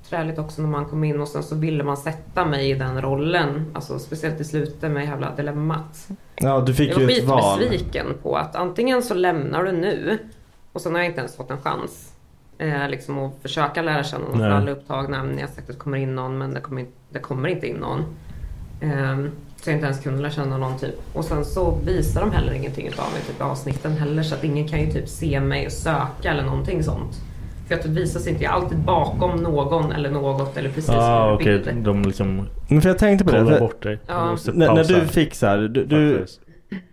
träligt också när man kom in och sen så ville man sätta mig i den rollen. Alltså speciellt i slutet med jävla dilemmat. Ja, du fick jag var ju ett val. skitbesviken på att antingen så lämnar du nu och sen har jag inte ens fått en chans. Eh, liksom att försöka lära känna någon för Nej. alla är upptagna. Men jag har sagt att det kommer in någon men det kommer, in- det kommer inte in någon. Ehm, så jag inte ens kunde lära känna någon typ. Och sen så visar de heller ingenting utav mig typ i avsnitten heller. Så att ingen kan ju typ se mig och söka eller någonting sånt. För att det visas inte. Jag är alltid bakom någon eller något eller precis Ah, som okej, okay. bild. de liksom... Men för jag tänkte på det. Kolla för- bort dig. Ja. Jag måste När, när pausa. du fick så här, du, du, Faktiskt.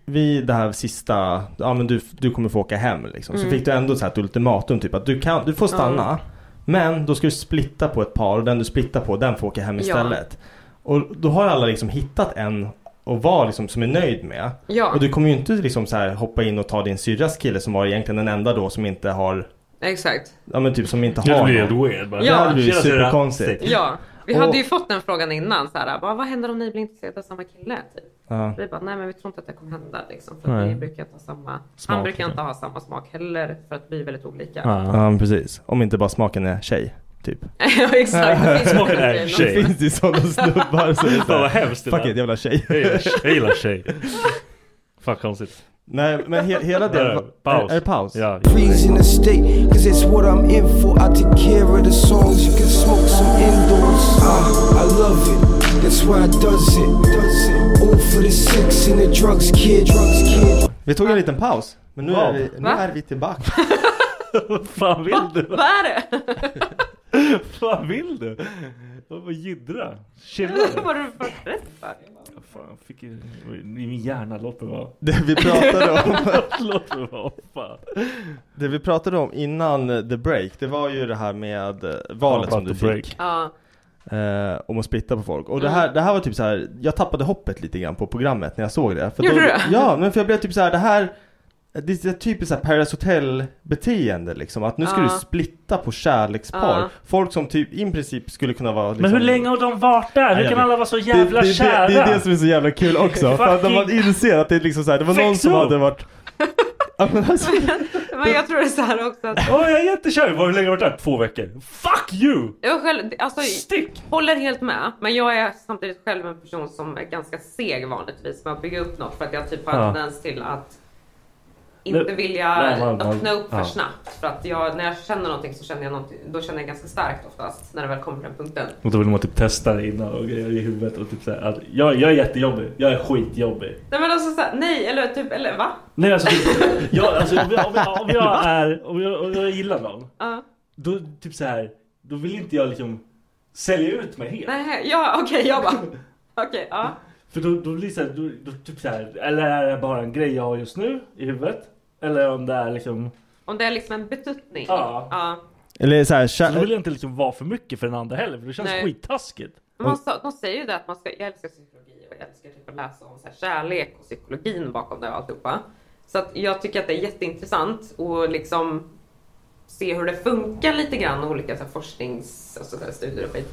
vid det här sista, ja men du, du kommer få åka hem liksom. Så Mm. fick du ändå så här ett ultimatum typ att du, kan, du får stanna. Ja. Men då ska du splitta på ett par och den du splittar på den får åka hem Ja. istället. Och då har alla liksom hittat en och var liksom som är nöjd med. Ja. Och du kommer ju inte liksom så här hoppa in och ta din syrras kille som var egentligen den enda då som inte har Exakt. Ja men typ som inte Ja, har det blir någon. helt weird bara. Det hade blivit Tjena, syrra. superkonstigt. Ja. Vi Och- hade ju fått den frågan innan. Så här, bara, vad händer om ni blir intresserade av samma kille? Typ. Ja. Vi bara, nej men vi tror inte att det kommer hända. Liksom, för att Nej. vi brukar inte ha samma, Smak, han brukar liksom. inte ha samma smak heller för att vi är väldigt olika. Ja, men precis. Om inte bara smaken är tjej, typ. Ja, exakt. Smaken är Det tjej. finns ju sådana snubbar som är så här, Fan vad hemskt det Fuck där. it, jävla tjej. Jag gillar tjej. Jag gillar tjej. Fuck konstigt. Nej, men he- hela Där är den... det. Paus. Är, är det paus? Ja. Freeze in the state, cause it's what I'm in for. I take care of the songs, you can smoke some indoors. Ah, I love it, that's why I does it. Does it. All for the sex and the drugs, kid. Drugs, kid. Vi tog en liten paus. Men nu, är, Wow. vi, nu Va? är vi tillbaka. Vad fan vill du? Vad är det? Vad fan vill du? Jag bara jiddra. Chilla. Vad var du först rätt för? Fan, fick ju... I min hjärna, låt mig vara. Det vi pratade om. låt mig vara. Fan. Det vi pratade om innan eh, the break, det var ju det här med eh, Ja, valet bara som du the break. fick. Ja. Eh, om att splitta på folk. Och det, Mm. här, det här var typ så här. jag tappade hoppet lite grann på programmet när jag såg det. För Gjorde då, du det? Ja, men för jag blev typ så här, det här det är så här typiskt så här Paradise Hotel beteende liksom. Att nu ska Ja. du splitta på kärlekspar. Ja. Folk som typ i princip skulle kunna vara liksom, Men hur länge har de varit där? Hur jag kan vet. alla vara så jävla det, det, kära? Det, det är det som är så jävla kul också. för att när man Fucking- inser att det är liksom så här, det var någon Fix som upp! hade varit... Ja, men alltså, Men jag tror det är så här också att Åh, jag är jättekär. Hur länge har du varit där? Två veckor. Fuck you! jag själv, alltså, håller helt med. Men jag är samtidigt själv en person som är ganska seg vanligtvis med att bygga upp något för att jag typ har en Ja. tendens till att inte Nu- vilja Nej, man- man- öppna upp för ja. snabbt. För att jag, när jag känner någonting så känner jag någonting, då känner jag ganska starkt oftast när det väl kommer till den punkten. Och då vill man typ testa det innan och grejer i huvudet och typ såhär att jag, jag är jättejobbig, jag är skitjobbig. Nej men alltså såhär, nej eller typ, eller va? Nej alltså, typ, jag, alltså om, jag, om, jag, om jag är, om jag, om jag gillar någon. Ja. Då typ så här, då vill inte jag liksom sälja ut mig helt. Nej, ja okej jag bara, okej ja. För då, då blir det så här, då, då typ så här, eller är det bara en grej jag har just nu i huvudet? Eller om det är liksom, Om det är liksom en betuttning. Ja. ja. eller så här, så då vill kär... jag inte liksom vara för mycket för den andra heller för det känns Nej. skittaskigt. Men Man, sa- de säger ju det att man ska, jag älskar psykologi och jag älskar typ att läsa om så här kärlek och psykologin bakom det och alltihopa. Så att jag tycker att det är jätteintressant att liksom se hur det funkar lite grann och olika så här forsknings och så där studier och skit.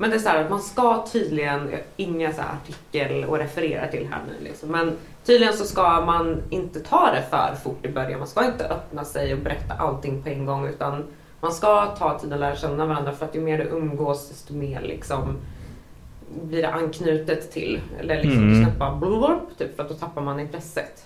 Men det är så här att man ska tydligen, inga så här artikel och referera till här nu liksom, men tydligen så ska man inte ta det för fort i början. Man ska inte öppna sig och berätta allting på en gång utan man ska ta tid att lära känna varandra för att ju mer du umgås desto mer liksom blir det anknutet till. Eller liksom Mm. du släpper bara blurp, typ för att då tappar man intresset.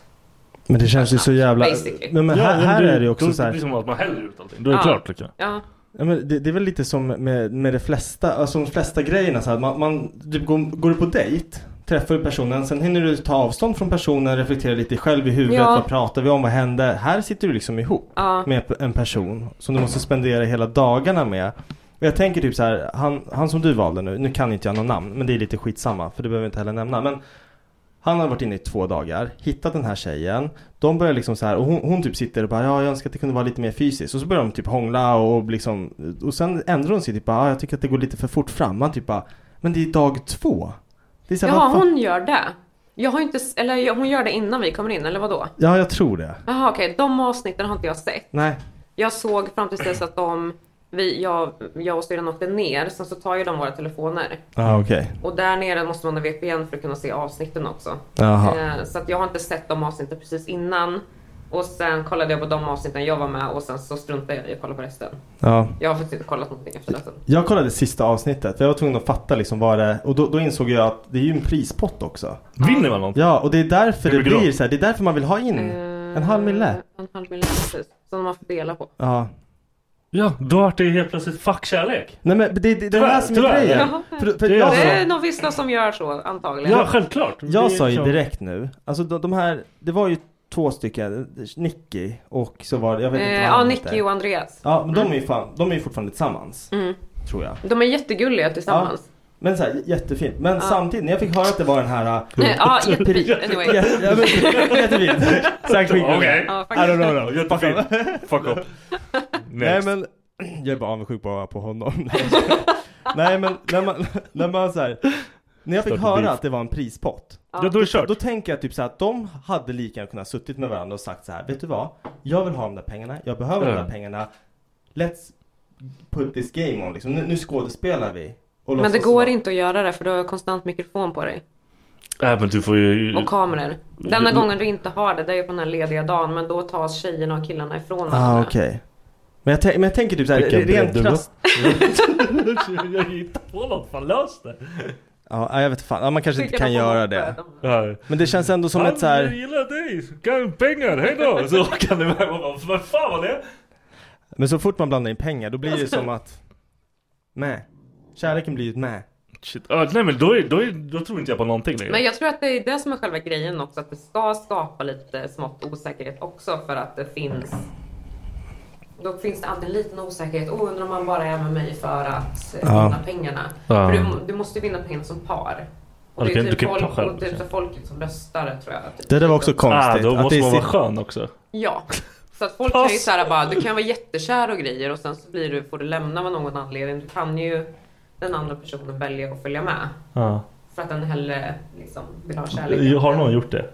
Men det känns ju så jävla... Basically. Men, men Ja, här, men här det- är det ju också då- så Det blir här... som att man häller ut allting. Då är det Ja. klart tycker jag. Ja. Ja, men det, det är väl lite som med, med de flesta, alltså de flesta grejerna så här, man, man typ går, går du på dejt, träffar du personen, sen hinner du ta avstånd från personen, reflektera lite själv i huvudet, Ja. vad pratar vi om, vad hände? Här sitter du liksom ihop Ja. med en person som du måste spendera hela dagarna med. Men jag tänker typ så här, han, han som du valde nu, nu kan inte jag något namn, men det är lite skitsamma för det behöver jag inte heller nämna. Men han har varit inne i två dagar, hittat den här tjejen. De börjar liksom så här, och hon, hon typ sitter och bara ja, jag önskar att det kunde vara lite mer fysiskt. Och så börjar de typ hångla och liksom, och sen ändrar hon sig typ bara, ja, jag tycker att det går lite för fort fram. Man typ bara, men det är dag två. Det är så här, Jaha, vad fan- hon gör det. Jag har inte, s- eller jag- hon gör det innan vi kommer in, eller vad då? Ja, jag tror det. Jaha, okej, de avsnitten har inte jag sett. Nej. Jag såg fram tills dess att de, vi, jag, jag och syrran åkte ner, sen så tar ju de våra telefoner. Ja, okej. Och där nere måste man ha VPN för att kunna se avsnitten också. Jaha. Eh, Så att jag har inte sett de avsnitten precis innan. Och sen kollade jag på de avsnitten jag var med och sen så struntade jag i att kolla på resten. Ja. Jag har faktiskt inte kollat någonting efter detta. Jag kollade sista avsnittet för jag var tvungen att fatta liksom vad det och då, då insåg jag att det är ju en prispott också. Vinner man något? Ja, och det är därför Hur det mycket då? blir så här, det är därför man vill ha in en halv mille. Eh, En halv miljon precis, som man får dela på. Ja. Ja, då vart det helt plötsligt fuck kärlek. Nej men det, det, det är det Tyvärr, här som är tyvärr. grejen. Jaha. För, för Det är alltså- jag, det sa- är nog vissa som gör så antagligen. Ja, självklart. jag sa ju direkt nu, alltså de, de här, det var ju två stycken, Nicky och så var det, jag vet inte Eh, vad ja, han heter. Nicky och Andreas. Ja, men de är ju fan, de är ju fortfarande tillsammans. Mm. Tror jag. De är jättegulliga Ja, tillsammans. men så här, jättefint. Men samtidigt, när jag fick höra att det var den här... Nej, ja, jättefint. Jätte- Anyway. jätte- ja, men- Jättefint. Sagt skit. Okej. I Ja, don't know. no. Jättefint. Fuck up. Nej Next. men, jag är bara avundsjuk bara på honom. nej men, när man, när man så här, när jag fick Start höra beef. att det var en prispott. Ja. Ja, då är det kört. Då tänker jag typ så här att de hade lika gärna kunnat suttit med varandra och sagt så här, vet du vad? Jag vill ha de där pengarna, jag behöver de Ja. där pengarna. Let's put this game on liksom. Nu, nu skådespelar vi. Och Men det låtsas går vara- inte att göra det för du har konstant mikrofon på dig. Nej men du får ju... Och kameror. Denna gången du inte har det, det är ju på den här lediga dagen. Men då tas tjejerna och killarna ifrån Ah, okej. Men, jag tän- men jag tänker typ såhär, Vilken rent bredd du krasst. jag hittar på något, fan lös det! Ja, jag vet fan. Ja, man kanske inte Tycker kan de får göra hoppa, det. Men det känns ändå som Fan, ett såhär... Jag gillar dig, kan pengar, hejdå! Så kan det vara, man bara, vad fan var det? Men så fort man blandar in pengar då blir Alltså. det som att Mä. Kärleken blir ju ett mä. Shit. Ja, nej men då, är, då, är, då tror inte jag på någonting längre. Men jag tror att det är det som är själva grejen också. Att det ska skapa lite smått osäkerhet också för att det finns... Då finns det alltid en liten osäkerhet. Oh, undrar om man bara är med mig för att eh, Ja. vinna pengarna. Ja. För du, du måste ju vinna pengarna som par. Ja, Och du det Ah. kan- är du typ kan ju ta folk, själv, och typ så. så folket som röstar tror jag. Typ. Det där var också konstigt. Ah, då måste det man vara sitt- skön också. Ja. Så att folk kan ju såhär bara, du kan vara jättekär och grejer och sen så blir du, får du lämna av någon anledning. Du kan ju den andra personen välja att följa med. Ja. För att den hellre liksom vill ha kärlek. Har någon gjort det?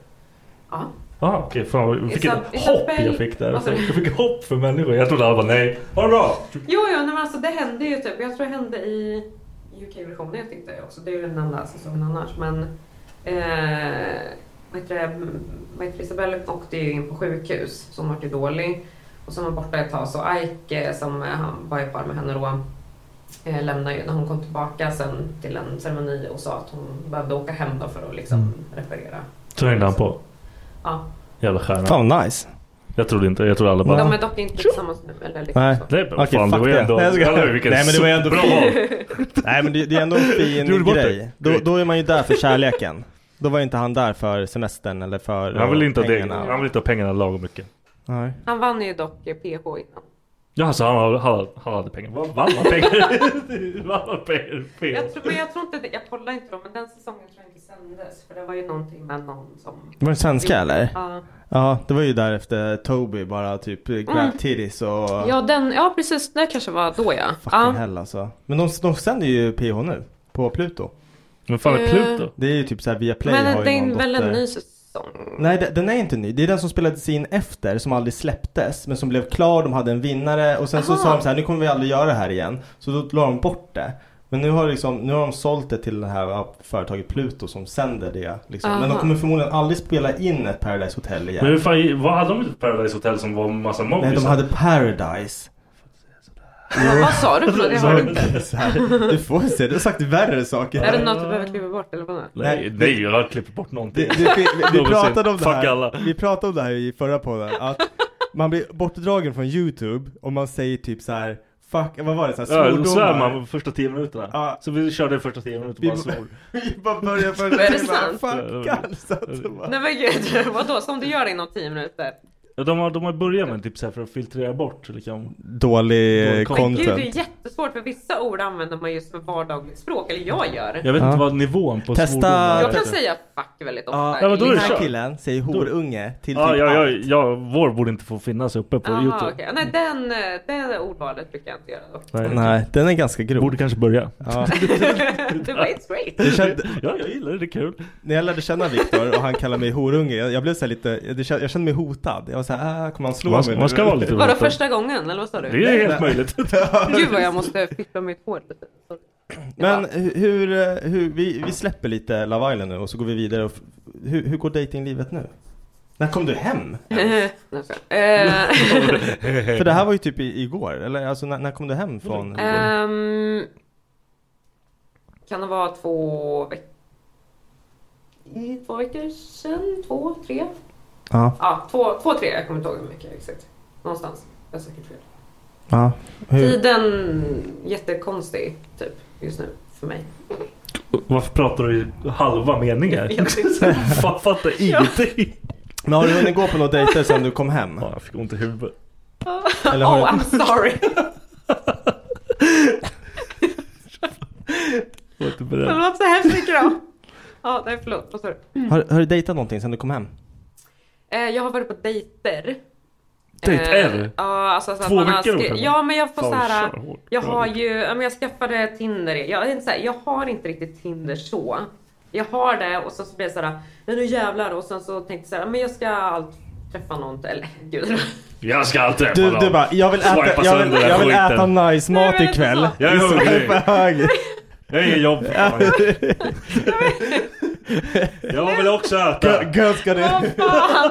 Ja. Ah, okej, fan vilket It's a- it's a hopp very- jag fick där. Vad sa du? Jag fick hopp för människor. Jag trodde alla bara nej, ha det bra! Jo, jo, nej, men alltså det hände ju typ. Jag tror det hände i UK-versionen jag tittade också. Det är ju den enda säsongen annars. Men eh, vad heter det? Vad heter det? Isabelle åkte ju in på sjukhus. Så hon vart ju dålig. Och så var hon borta ett tag. Så Ike eh, som eh, han var i par med henne då. Eh, lämnade ju när hon kom tillbaka sen till en ceremoni och sa att hon behövde åka hem då för att liksom reparera. Mm. Så hängde han på. Ja. Jävla stjärna. Fan vad nice. Jag trodde inte, jag trodde alla bara... De är dock inte tillsammans nu. Eller liksom Nej. så. Nej, men fan, det var ju ändå- Nej, jag ska- Eller hur, vilken Nej men det var ju ändå bra Nej men det, det är ändå en Du gjorde fin bort dig. grej. Då, då är man ju där för kärleken. Då var ju inte han där för semestern eller för Han vill inte ha det. pengarna. Han vill inte ha pengarna lagom mycket. Nej. Han vann ju dock eh, PH innan. Ja, alltså han, han, han hade pengar. Vad Vann han pengar? Vann han pengar? Fel. Jag tror, men jag tror inte, det- jag kollar inte dem, men den säsongen tror jag inte sändes. För det var ju någonting med någon som... Var det svenska eller? Ja. Ja, det var ju där efter Toby bara typ grab Mm. titties och... Ja, den, ja precis, det kanske var då ja. Fucking ja. hell alltså. Men de, de sänder ju PH nu. På Pluto. Men fan är Pluto? Eh. Det är ju typ såhär via Play Men har det ju någon är väl en dotter. ny säsong? Nej de- den är inte ny. Det är den som spelades in efter som aldrig släpptes men som blev klar. De hade en vinnare och sen så Aha. sa de så här nu kommer vi aldrig göra det här igen. Så då la de bort det. Men nu har, liksom, nu har de sålt det till det här ja, företaget Pluto som sänder det. Liksom. Men de Aha. kommer förmodligen aldrig spela in ett Paradise Hotel igen. Men hur fan, vad hade de ett Paradise Hotel som var en massa mobbisar? Nej de hade Paradise. Vad- vad sa du för något? Jag Så- hörde inte. så här, Du får se, du har sagt värre saker. Är det något du behöver klippa bort eller vad det är? Nej, nej, jag klipper bort någonting. Det, det, vi, vi, Någonsin. pratade om det Fuck här, alla. vi pratade om det här i förra podden, att man blir bortdragen från youtube om man säger typ så här. Fuck, vad var det? Så här, Ja, då svär svordomar. man första tio minuterna. Så vi körde första tio minuter Vi- bara svor. vi bara börjar först. Men är det Vi bara, sant? Fuck alltså. att det bara- Nej men gud, vadå? Som du gör det inom 10 minuter? Ja, de, har, de har börjat med typ så här för att filtrera bort liksom. Dålig, Dålig Men gud, content. det är jättesvårt för vissa ord använder man just för vardagligt språk, eller jag gör. Jag vet Ja. inte vad nivån på Testa- svordomar är. Jag kan säga fuck väldigt ofta. Ja, Ja, men då är det den här kört. killen säger Då- horunge till ja, typ ja, ja, allt. ja, vår borde inte få finnas uppe på Aha, Youtube. okej. Nej, den, eh, det ordvalet brukar jag inte göra dock. Nej, den är ganska grov. Borde kanske börja. Ja. Det var it's great. Det känd- Ja, jag gillar det, det är kul. När jag lärde känna Viktor och han kallade mig horunge, jag, jag blev så här lite, jag, det kän- jag kände mig hotad. Jag var såhär, ah, kommer han slå Man- mig man ska vara lite Vadå första gången eller vad sa du? Det är helt möjligt. Gud vad jag måste fippla mitt hår lite. Sorry. Men hu- hur, eh, hur vi, vi släpper lite Love Island nu och så går vi vidare. Och f- hur, hur går datinglivet nu? När kom du hem? Nej, jag skojar. Eh, För det här var ju typ i, igår, eller alltså när, när kom du hem från? ehm, Kan det vara två veckor? I två veckor sedan? Två, tre? Ja. Ja, två, två tre. Jag kommer inte ihåg hur mycket exakt. Någonstans. Jag har säkert fel. Ja. Hur? Tiden jättekonstig typ just nu för mig. Varför pratar du i halva meningar? Jag tänkte- Fa- Fattar ingenting. Men har du hunnit gå på några dejter sedan du kom hem? Ja, jag fick ont i huvudet. Eller har oh, du- I'm sorry. Jag var inte beredd. Förlåt så hemskt mycket då. Ja, nej förlåt. Vad sa du? Har, har du dejtat någonting sedan du kom hem? Eh, jag har varit på dejter. Dejter? Eh, Ja, alltså så att Två man har veckor skri- åt henne? Ja, men jag får Fan, så här. kör hårt. Jag har ju, ja, men jag skaffade Tinder. Jag, är inte så här, jag har inte riktigt Tinder så. Jag har det och sen så blir det så här, men nu jävlar. Och sen så tänkte jag så här, men jag ska allt träffa någon. Eller gud. Jag ska alltid Du, du bara, jag vill äta, jag vill, jag vill äta nice mat ikväll. Jag är hungrig. Swipa höger. Jag har ingen jobb fan. Jag vill också äta. Gö- Gö, ska du? Vad fan?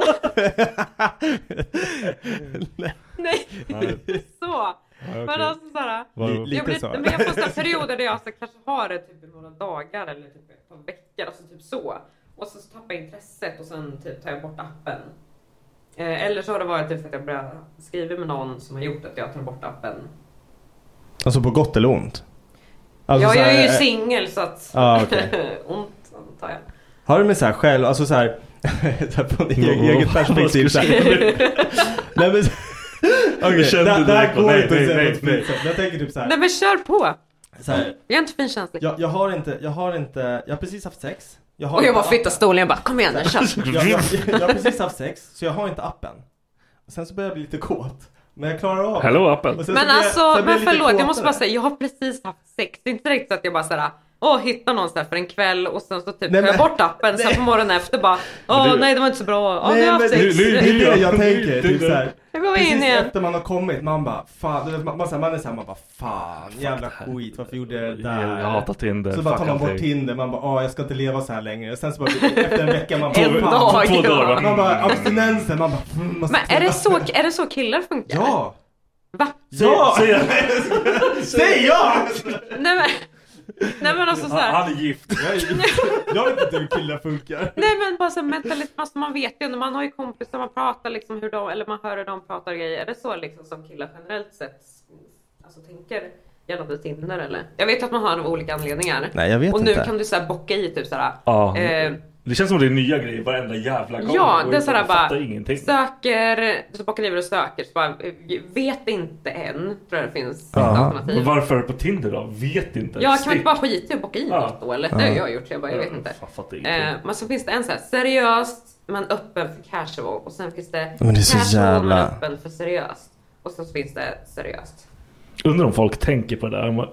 Nej, Nej. så. okej. Men alltså såhär. Var- jag, lite blir- så. Men jag får så här perioder där jag så här kanske har det typ i några dagar eller typ ett par veckor. Alltså typ så. Och så tappar jag intresset och sen typ tar jag bort appen. Eh, eller så har det varit typ att jag börjar skriva med någon som har gjort att jag tar bort appen. Alltså på gott eller ont? ja, så jag här, är ju eh, singel så att Ja, okej. ont antar jag. Har du med så här själv, alltså så här, så här från e- Vad- eget vad perspektiv så ska här. jag säga? Nej men Okej, Jag kände det, det här direkt, går nej, inte att nej, säga nej, något nej. fint. Så Jag tänker typ så Nej här, men kör på! så här Jag är inte finkänslig. jag, jag har inte, jag har inte, jag har precis haft sex jag har Och jag inte bara flyttar appen. stolen jag bara kom igen nu kör. jag, jag, jag har precis haft sex, så jag har inte appen Sen så börjar jag bli lite kåt Men jag klarar av det. Hello, appen. Och sen så Men blir jag- sen alltså, blir men lite förlåt, jag måste kåtare. bara säga, jag har precis haft sex. Det är inte direkt så att jag bara såhär, åh, hittar någon såhär för en kväll och sen så typ Nej, tar jag men- bort appen. Sen Nej. på morgonen efter bara, åh det- nej det var inte så bra. Ja, nu har Nej jag men haft det sex. är det jag tänker, det- typ så här. Nu går vi in Precis igen. efter man har kommit, man bara fan, du vet, man, man, så här, man är såhär, man bara fan, jävla skit, varför gjorde jag det där? Jag hatar Tinder, Så bara tar fuck man bort allting. Tinder, man bara ah jag ska inte leva så här längre. Sen så bara efter en vecka man bara En fan. dag, Två dagar, ja. va? Man bara abstinensen, man bara mm, måste Men är det, träna. så, är det så killar funkar? Ja! Va? Ja! Säg- Säg ja! Nej men, nej men alltså såhär. Han är gift. Jag vet inte hur killar funkar. Nej men bara såhär mentalitet, alltså man vet ju, när man har ju kompisar, man pratar liksom hur de, eller man hör hur de pratar och grejer. Är det så liksom som killar generellt sett alltså, tänker gällande Tinder eller? Jag vet att man har det av olika anledningar. Nej, jag vet Och nu inte. kan du såhär bocka i typ såhär. Ja. eh, Det känns som det är nya grejer varenda jävla gång. ja, det är Jag sådär fattar bara ingenting. söker, så bara skriver och söker, så bara eh, vet inte än, tror jag det finns ett Aha. alternativ. Men Varför är det på Tinder då? Vet Ja, Mm. inte. kan man Stick. inte bara skita i att bocka i något då eller? Det har Ja. jag gjort, så jag bara, jag vet Ja, inte. fan, fattar ingenting. Eh, men så finns det en så här seriöst men öppen för casual och sen finns det, Men det är så casual jävla- men öppen för seriöst. Och sen så finns det seriöst. Undrar om folk tänker på det där. Man-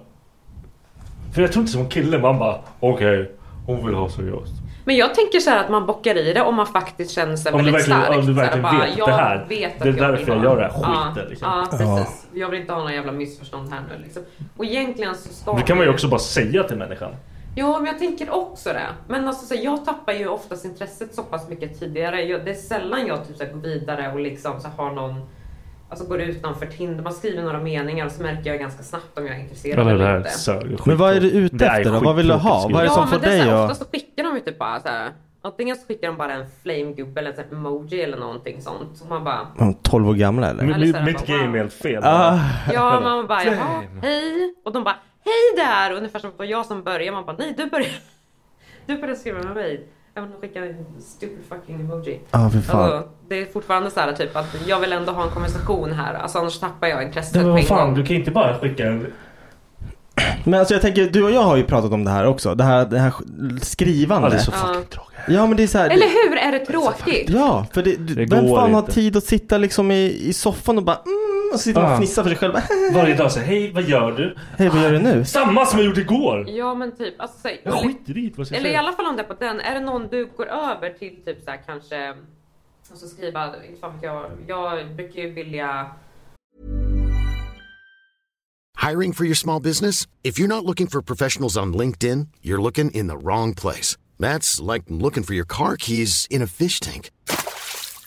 För jag tror inte som kille man bara okej, hon vill ha seriöst. Men jag tänker så här att man bockar i det om man faktiskt känner sig Om du väldigt verkligen- stark. om du Så här, verkligen bara, vet jag det här. Vet att Det är jag vill därför jag ha- gör det här Ja, skiten, liksom. Ja, Ja. precis. Jag vill inte ha några jävla missförstånd här nu liksom. Och egentligen så ska Det kan man ju ju- också bara säga till människan. Jo, men jag tänker också det. Men alltså, så här, jag tappar ju oftast intresset så pass mycket tidigare. Jag, det är sällan jag typ, så här, går vidare och liksom, så här, har någon Alltså går utanför Tinder, man skriver några meningar och så märker jag ganska snabbt om jag är intresserad Eller det eller här inte. sög- Men vad är du ute Det är efter då? Vad vill du ha? skittråkigt Vad är det ja, som men får det är så dig här, att... Ofta så skickar de ju typ bara så här. Antingen så skickar de bara en flamegubbe eller en emoji eller någonting sånt. Så man bara... Är de 12 år gamla eller? Eller så här, mitt bara, game är helt fel. Ah. Ja, man bara jaha, hej. Och de bara hej där. Ungefär som det var jag som började. Man bara nej, du började. Du började skriva med mig. Jag vill skicka en stupid fucking emoji. Ja, fy fan. Alltså, det är fortfarande så här typ att jag vill ändå ha en konversation här. Alltså annars tappar jag intresset Nej, men på vad en fan, gång. du kan inte bara skicka en... Men alltså jag tänker, du och jag har ju pratat om det här också. Det här, det här sk- skrivande. Ja, det är så fucking Ja. tråkigt. Ja men det är så här. Eller hur? Är det tråkigt? Ja, för det, Det vem går fan har inte. tid att sitta liksom i, i soffan och bara mm, och så sitter man och Ja. fnissar för sig själv. Ah. Varje dag säger hej vad gör du? Hej vad gör du nu? Samma som jag gjorde igår! Ja men typ, alltså säg. Jag skiter i vad jag ska Eller i säga. alla fall om det är på den. Är det någon du går över till typ så här kanske. Och så skriva, inte fan vet jag. Jag brukar ju vilja. Hiring for your small business? If you're not looking for professionals on LinkedIn, you're looking in the wrong place. That's like looking for your car keys in a fish tank.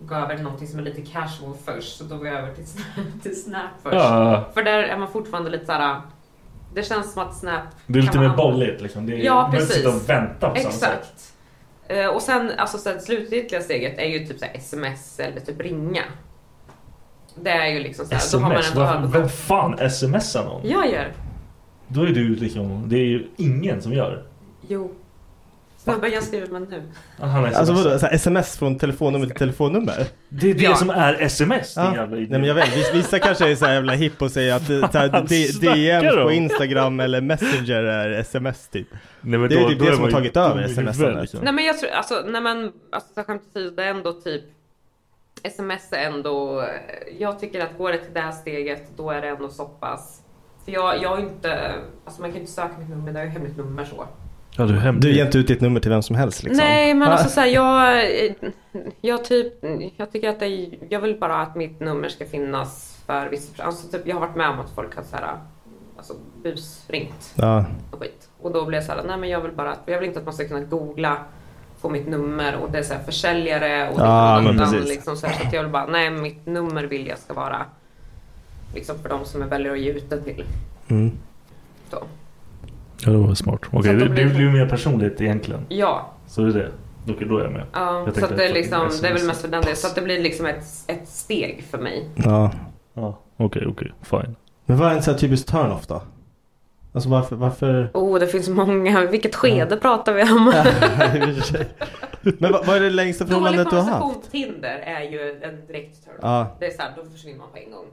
Gå över till någonting som är lite casual först. Så då går jag över till Snap, till snap först. Ja. För där är man fortfarande lite så här. Det känns som att Snap. Det är lite kan mer man använda- bolligt liksom. Det är, Ja, man behöver inte precis. sitta och vänta på samma sätt. Exakt. Eh, och sen, alltså så här, det slutgiltiga steget är ju typ så här, sms eller typ ringa. Det är ju liksom så här, då har man Sms? ändå Varför, övergått. vem fan smsar någon? Jag gör. Då är du liksom, det är ju ingen som gör. Jo. Snabbare jag skriver man nu. Han är Alltså sms. vadå, så här, sms från telefonnummer till telefonnummer? Det är det som är sms. din jävla Nej idiot. men jag vet, vis- vissa kanske är så här jävla hipp och säger att eh, så här, Vad D- snackar DM du om? på Instagram eller Messenger är sms typ. men det är då- ju typ då är det som man har ju tagit över dum i sms. huvudet, Liksom. Nej men jag tror, alltså när man, alltså så här, skämt åsido, det är ändå typ sms är ändå, jag tycker att går det till det här steget då är det ändå så pass. För jag, jag har ju inte, alltså man kan ju inte söka mitt nummer, det är ju hemligt nummer så. Ja, du, är du ger inte ut ditt nummer till vem som helst liksom. Nej men Va? alltså såhär jag, jag typ, jag tycker att det, är- jag vill bara att mitt nummer ska finnas för vissa, alltså typ jag har varit med om att folk har såhär, alltså busringt Ja. och skit. Och då blev jag såhär, nej men jag vill bara att, jag vill inte att man ska kunna googla, få mitt nummer och det är såhär försäljare och det Ja, är någon men annan, precis. liksom såhär, så att jag vill bara, nej mitt nummer vill jag ska vara liksom för de som jag väljer att ge ut det till. Mm. Så. Ja, det var smart. Okej, Så att det, då det blir- blir ju mer personligt egentligen. Ja. Så det är det. Då, då är jag med. Jag Ja, så tänkte att det, är fucking liksom, det är väl SMS. mest för den delen. Så att det blir liksom ett, ett steg för mig. Ja. Ja, okej, okej. Fine. Men vad är en sån här typisk turn-off då? Alltså varför, varför? Oh, det finns många. Vilket skede pratar vi om? men vad, vad är det längsta Dålig förhållandet du har haft? konversation på Tinder är ju en direkt turn Ja. Det är såhär, då försvinner man på en gång.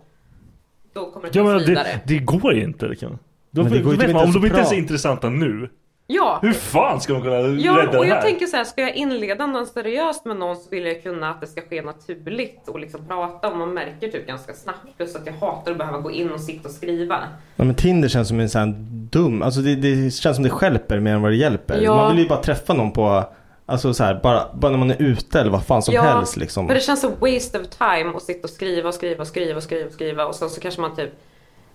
Då kommer det Ja, tas men vidare. det, det går ju inte. Liksom. Då, Men det det går ju typ vet man, om inte de inte ens är bra. intressanta nu. Ja. Hur fan ska de kunna Ja, rädda och det jag här? tänker så här, ska jag inleda någon seriöst med någon så vill jag kunna att det ska ske naturligt och liksom prata och man märker typ ganska snabbt. Plus att jag hatar att behöva gå in och sitta och skriva. Ja, men Tinder känns som en sån här dum, alltså det, det känns som det stjälper mer än vad det hjälper. Ja. Man vill ju bara träffa någon på, alltså så här, bara, bara när man är ute eller vad fan som helst liksom. För det känns som waste of time att sitta och skriva och skriva och skriva och skriva och skriva och sen så kanske man typ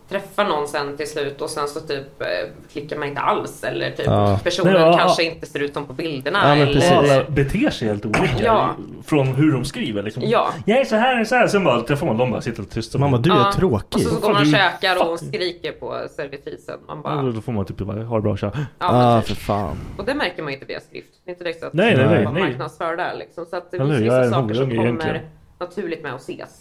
träffar någon sen till slut och sen så typ eh, klickar man inte alls eller typ Ja. personen Nej, ja, kanske ja. inte ser ut som på bilderna. Ja, men precis. eller... Alla beter sig helt olika Ja. från hur de skriver. Liksom. Ja. Jag är så här, jag är så här. Sen bara träffar man dem och bara sitter och tysta. Mamma, du Ja. Och så, så går man och käkar och skriker på servitrisen. Man bara, Då får man typ bara, ha det bra, tja. Ja, för fan. och det märker man ju inte via skrift. Det är inte direkt så att Nej, nej, nej, man nej. marknadsför där liksom. Så att det Eller hur? finns Jag är vissa en saker som horunge kommer egentligen. naturligt med att ses.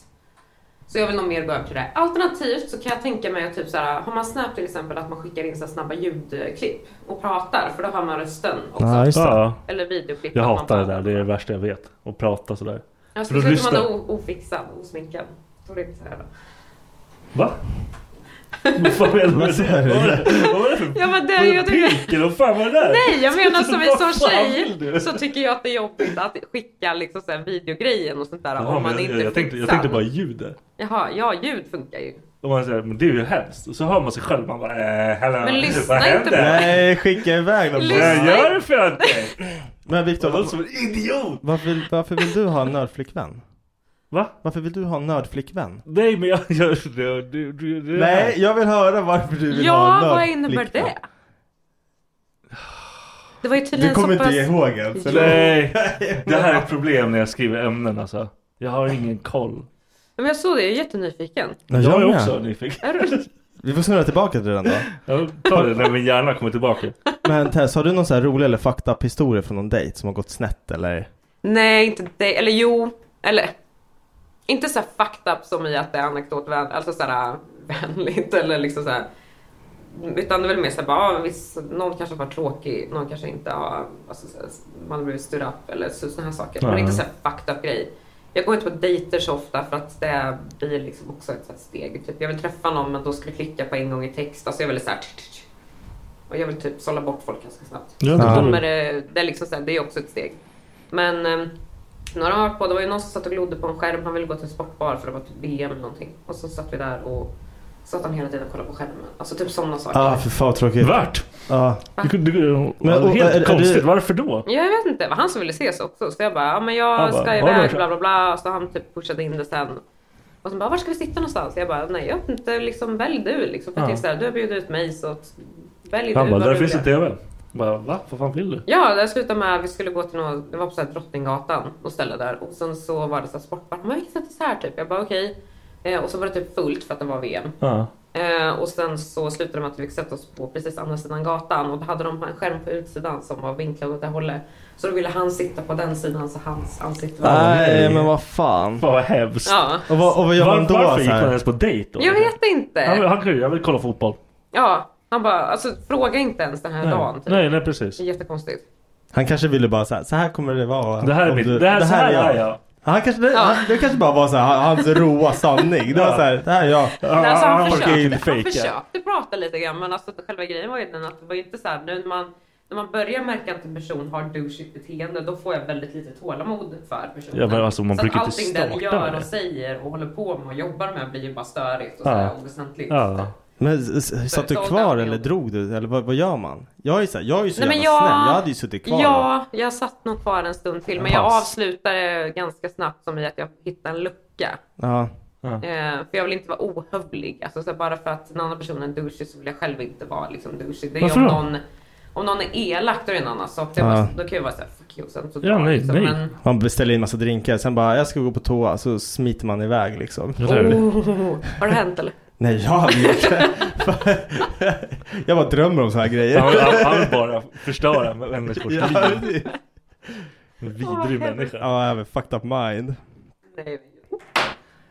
Så jag vill nog mer gå över till det. Alternativt så kan jag tänka mig att typ så här, har man Snap till exempel att man skickar in så här snabba ljudklipp och pratar för då hör man rösten också. Ja, just det. Ja. Eller videoklipp. Jag typ att man hatar det bara- där, det är det värsta jag vet. Att prata sådär. Ja, För då speciellt om man lyssnar- är o- ofixad, osminkad. Då är det inte så här då. Va? Vad fan menar du? Vad var det för Ja men det, Vad är jag det, tycker... Pirkel? Vad fan var det där? Nej, jag menar som en Vad sån fan tjej vill du? så tycker jag att det är jobbigt att skicka liksom så här videogrejen och sånt där Jaha, om man men jag, inte jag, tänkte, jag fixar. tänkte bara ljudet. Jaha, ja ljud funkar ju. Och man säger men det är ju hemskt. Och så hör man sig själv man bara eh, hello. Men lyssna Vad inte händer? på- Nej, skicka iväg dem. Lyssna Jag gör det för att Men Viktor, låter som en idiot. Varför, vill- varför vill du ha en nördflickvän? Va? Varför vill du ha en nördflickvän? Nej men jag gör det. Du, du, det Nej, jag vill höra varför du vill ha Ja, en vad nördflickvän. innebär det? Det var ju tydligen Du kommer så pass... inte ihåg ens, eller? Nej. Det här är ett problem när jag skriver ämnen alltså. Jag har ingen koll. Men jag såg det, jag är jättenyfiken. Ja, jag jag är med. också nyfiken. Är du... Vi får snurra tillbaka till den då. Jag tar det när min hjärna kommer tillbaka. Men Tess, har du någon så här rolig eller fucked up historia från någon dejt som har gått snett eller? Nej, inte det. Eller jo, eller... Inte så här fucked up som i att det är anekdotvänligt, alltså så här vänligt eller liksom så här. Utan det är väl mer så här, bara, ja, visst, någon kanske var tråkig, någon kanske inte har, alltså, så här, man har blivit stirrad upp eller sådana här saker. Men Ja. inte så här fucked up grej. Jag går inte på dejter så ofta för att det blir liksom också ett så här steg. Typ, jag vill träffa någon men då ska det klicka på en gång i text. Alltså jag vill så här, och jag vill typ sålla bort folk ganska snabbt. Ja, det så blir- kommer det, det är liksom så här, det är också ett steg. Men eh, några har varit på, det var ju någon som satt och glodde på en skärm. Han ville gå till en sportbar för det var typ VM eller någonting. Och så satt vi där och satt han hela tiden och kollade på skärmen. Alltså typ sådana saker. Ja, ah, för fan vad tråkigt. Värt? Ja. Men, och- helt är- är konstigt, det- varför då? Ja, jag vet inte, det var han som ville ses också. Så jag bara, ja men jag Han bara, ska "Har du iväg, det?" bla bla bla. Så han typ pushade in det sen. Och sen bara, var ska vi sitta någonstans? Jag bara, nej jag vet inte, liksom välj du liksom. För jag Ja. tänkte så här, du har bjudit ut mig så att välj Han du bara, vad där du finns vill." det TV. Bara, va? Vad fan vill du? Ja, det slutade med att vi skulle gå till någon, det var på så här Drottninggatan och ställe där och sen så var det så här sportbar. Men vi kan sätta så här typ. Jag bara okej. Eh, och så var det typ fullt för att det var VM. Ja. Eh, och sen så slutade de med att vi fick sätta oss på precis andra sidan gatan och då hade de en skärm på utsidan som var vinklad åt det hållet. Så då ville han sitta på den sidan så hans ansikte var... Nej, men vad fan. Fan vad hemskt. Ja. Och vad, och vad gör Var- man då? varför så gick här? man ens på dejt då? Jag vet Han, inte. han, kunde- jag vill kolla fotboll. Ja, han bara alltså fråga inte ens den här Nej. dagen. Typ. Nej, nej precis. Det är jättekonstigt. Han kanske ville bara så här, så här kommer det vara. Det här är om mitt- det här- så här är jag. Han kanske, det, han, det kanske bara var så här, hans råa sanning. Det var så här, det här är jag. Men alltså han, fucking försökte, han fake. försökte prata lite grann men alltså själva grejen var ju den att det var ju inte så här, nu när man, när man börjar märka att en person har douchigt beteende då får jag väldigt lite tålamod för personen. Ja, men alltså, man så brukar att inte allting den starta gör med och det. säger och håller på med och jobbar med blir ju bara störigt och Ja. sådär oväsentligt. Ja. Men s- s- satt du Så- kvar eller drog du? Eller vad, vad gör man? Jag är så, här, jag är ju så Nej, men jävla jag- snäll. Jag hade ju suttit kvar. Ja, jag satt nog kvar en stund till men jag Pass. avslutade ganska snabbt som i att jag hittade en lucka. Ja. Eh, för jag vill inte vara ohövlig. Alltså, så här, bara för att den andra personen är douchig så vill jag själv inte vara liksom, douchig. Det är ju Varför om då? någon, om någon är elak då är det en annan sak. Det är Ja. bara, då kan jag vara såhär, fuck you. Sen så Ja, nej, nej. liksom, Men, Man beställer in massa drinkar. Sen bara, jag ska gå på toa. Så smiter man iväg liksom. oh, har det hänt eller? Nej, jag hade inte. jag bara drömmer om så här grejer. Han, han, han vill bara förstöra människors Ja, liv. En Vidrig människa. Ja, jag har fucked up mind. Nej.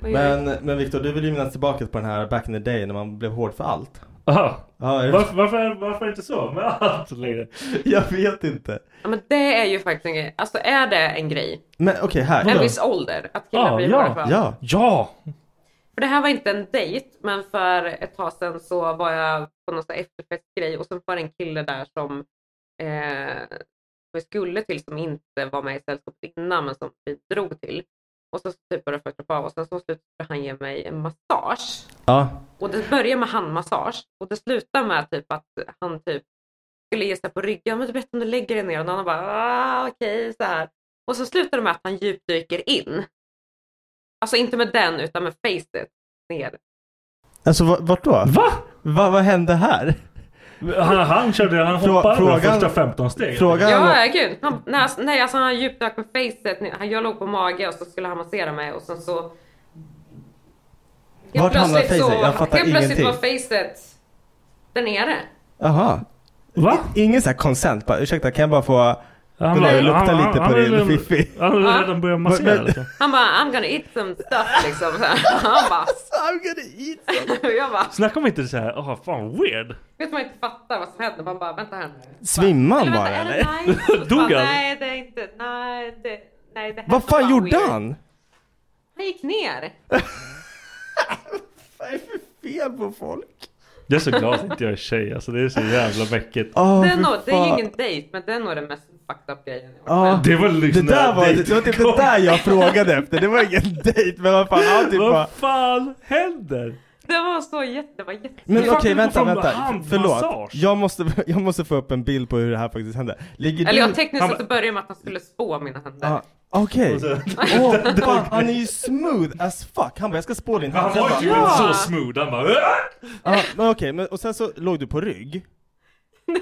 Oj, Men, men Viktor, du vill ju minnas tillbaka på den här back in the day när man blev hård för allt. Aha. Ja, är det- Varför, varför, är- varför är det inte så med allt längre? Jag vet inte. Ja, men det är ju faktiskt en grej. Alltså är det en grej? Men okej, här. En viss ålder? Att killar blir hårda för allt? ja. ja. För det här var inte en dejt, men för ett tag sedan så var jag på någon sån här efterfestgrej och så var det en kille där som eh, vi skulle till som inte var med i sällskapet innan men som vi drog till. Och så typ började jag träffa av och sen så slutade han ge mig en massage. Ja. Och det börjar med handmassage och det slutar med typ att han typ skulle ge sig på ryggen. Men du vet om du lägger dig ner och den andra bara ah, okej så här. Och så slutar det med att han djupdyker in. Alltså inte med den utan med facet ner. Alltså va- vart då? Va? Va, vad hände här? Han, han körde, han Frå- hoppade över frågan- första 15 stegen. frågan- Ja, var- ja, gud. Han, nej, alltså- nej, alltså han djupdök med facet. ner. Han- Jag låg på mage och så skulle han massera mig och sen så... Vart hamnade plötsligt facet? så- Jag fattar Helt plötsligt ingenting. var facet där nere. Jaha. Va? Ingen sån här konsent bara, ursäkta kan jag bara få Han gå ner bara- och lukta han- lite han- på han din ville- fiffi? han ville Ja. redan börja massera Men- liksom. Han bara I'm gonna eat some stuff liksom. Så här. Han bara I'm gonna eat some. jag bara Snacka om inte så här, åh fan weird. Vet man inte fattar vad som händer. Man bara vänta här nu. Svimmade han bara Eller eller? vänta, är det nice? Och så Dog bara, han? Nej det är inte, nej det, nej det här Vad var bara fan gjorde weird. han? Han gick ner. Fel på folk. Jag är så glad att inte jag är tjej alltså, det är så jävla mäckigt. det, är nog, det är ju ingen dejt men det är nog den mest fucked up grejen. Ja. Det var liksom det där var, dejt- det var typ det där jag frågade efter. Det var ingen dejt men vad fan han typ Vad bara fan händer? Det var så jätte... Det var jätte... Men okej, typ Varför vänta, får de vänta. handmassage? Förlåt. Jag måste, jag måste få upp en bild på hur det här faktiskt hände. Ligger Eller du- jag tekniskt sett så började jag med att han skulle spå mina händer. Ah, Okej. Och så- Åh, fan, han är ju smooth as fuck. Han bara, jag ska spå din Men han var ju Jag typ bara, så smooth, han bara Ja, men okej, men, och sen så låg du på rygg.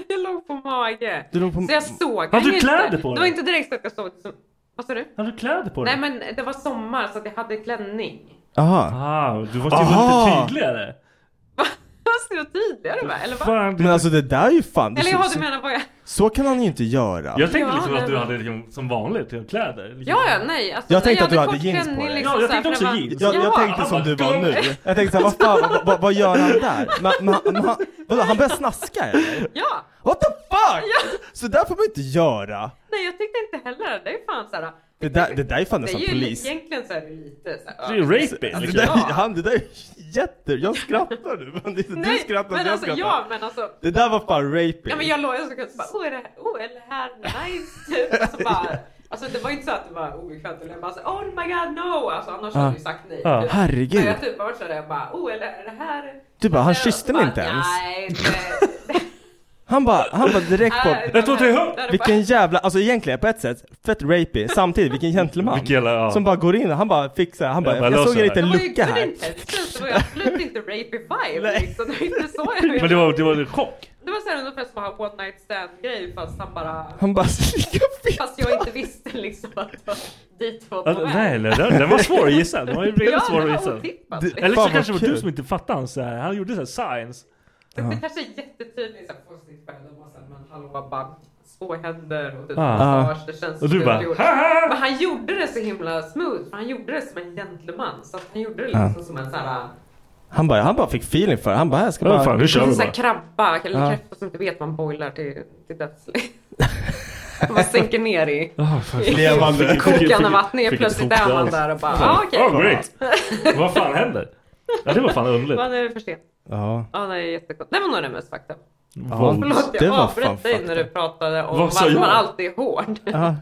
Jag låg på mage. Du låg på- Så jag såg Hade du inte. kläder på Det var dig? inte direkt så att jag såg det som... Vad sa du? Hade du kläder på Nej dig? men det var sommar så att jag hade klänning. Aha. Ah, du måste ju vara Aha. lite tydligare. Fast det var tydligare va? Eller vad? Men alltså det där är ju fan. Eller så, jag så, hade menat vad jag... så kan han ju inte göra. Jag tänkte Ja, liksom att nej, du men- hade liksom, som vanligt typ, kläder. Liksom. Ja, ja, nej. Alltså, Jag tänkte nej, att du hade kort jeans klänning, på dig. liksom, Ja, jag så här, tänkte också för att man- Jag, jag tänkte som du var nu. Jag tänkte såhär, vad fan, vad, vad, vad gör han där? Men, men, han- men han, vadå, han börjar snaska eller? Ja! What the fuck! Så där får man inte göra. Nej, jag tyckte inte heller det. är fan så här... Det där, det där är fan Det nästan är ju polis. egentligen så är det lite så här... Det ja. är ju Han, det där är jätte... Jag skrattar nu. men det- Du Nej, skrattar, men jag alltså, skrattar. ja, men alltså. Det där var fan Ja, men raping. jag låg och så kunde jag bara, oh är det här, oh, är det här nice? Typ. Alltså, bara, alltså det var ju inte så att det var obekvämt eller jag bara så, oh my god no! Alltså Ah. annars Ja. hade du sagt nej. Ja. Typ. Herregud. Men jag typ var sådär, jag bara, oh eller är det här? Du bara, han kysste mig inte ens. Alltså, Nej, Han bara, han bara direkt på... Nej, Ett, två, tre, hopp! Vilken jävla, alltså egentligen på ett sätt, fett rapey, samtidigt vilken gentleman. Som bara går in och han bara fixar, han bara, bara jag, löser såg en det. liten Det lucka var ju det var här. inte intenst, det var ju absolut inte rapey vibe liksom. Det var inte så jag ville. Men det var, det var en chock. Det var såhär ungefär som en one night stand grej fast han bara, Han bara, fast jag inte visste liksom att det var dit var på Alltså, väg. nej, eller, den, den var svår att gissa. Den var ju Ja, väldigt svår den att var gissa. otippad. Det- Fan, Eller så vad kanske det var kul. du som inte fattade hans så här. Han gjorde så här signs. Det kanske är jättetydligt så här positivt på henne, och sen, men hallå bara två händer och typ Ah. massage. Det känns Och du som bara, jag gjorde. "Haha!" Men han gjorde det så himla smooth. För han gjorde det som en gentleman. Så att han gjorde det liksom Ah. som en sån här, Han bara, han bara fick feeling för det. han bara, jag ska bara... en sån här krabba. Eller Ja. kräfta som inte vet man boilar till, till döds. man sänker ner i, Ah, fan. i Levande. Fick- fick- kokande fick- vatten. fick Helt ett plötsligt hot är man dance. där och bara, Ja. ah, okej. Oh, great. Vad fan händer? Ja, det var fan underligt. Man är för sent. Ja. Ja, det är jättekonstigt. Det var nog det mest fakta. Ja, Förlåt, det jag var fan avbröt dig när du pratade om Vad sa varför jag? man alltid är hård. Ja.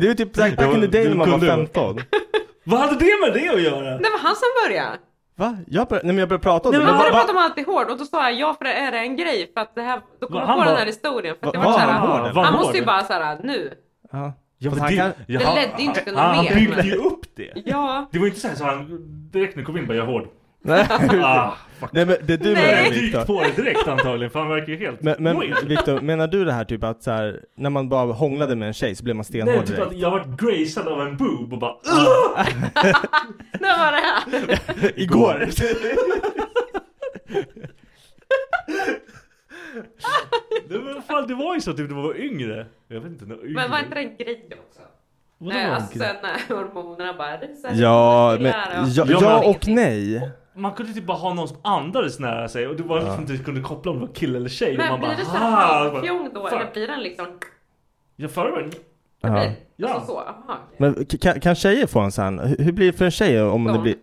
Det var typ såhär back in the day när man var 15. Vad hade det med det att göra? Det var han som började. Va? Jag började, nej men jag började prata om Nej, det. men han Men började va- prata om att alltid är hård och då sa jag ja för det är det en grej för att det här, då kom Va, jag han på den var- här historien. För att jag va- var var såhär, han hård, han, eller? måste ju Hård? bara såhär nu. Ja. Ja, Fast men han det, kan- ja, Det han- ledde inte till något han, mer, Han byggde ju men- upp det. Ja. Det var inte så här så han direkt nu kom in bara jag är hård. Nej. Ah, Nej men det du Nej. menar Han gick på Viktor. det direkt antagligen för han verkar ju helt Men, men weird. Viktor, menar du det här typ att så här, när man bara hånglade med en tjej så blev man stenhård Nej, typ direkt? att jag varit gracead av en boob och bara När var det här? Igår! Nej, men fan, det var ju så typ när man var yngre. Jag vet inte när yngre. Men var inte det en grej också? Vadå Nej, var en alltså grej? sen när hormonerna bara rusar Ja, ut, men killar och- ja, ja och nej. Man kunde typ bara ha någon som andades nära sig och det var liksom inte kunde koppla om det var kille eller tjej. och Men man blir det bara, så "Ah", här och bara, halvfjong då? "Fuck." Eller blir den liksom... Jag förra gången. Ja. Alltså så, aha. Men k- kan, kan tjejer få en sån? Hur, hur blir det för en tjej om det Stånd. blir...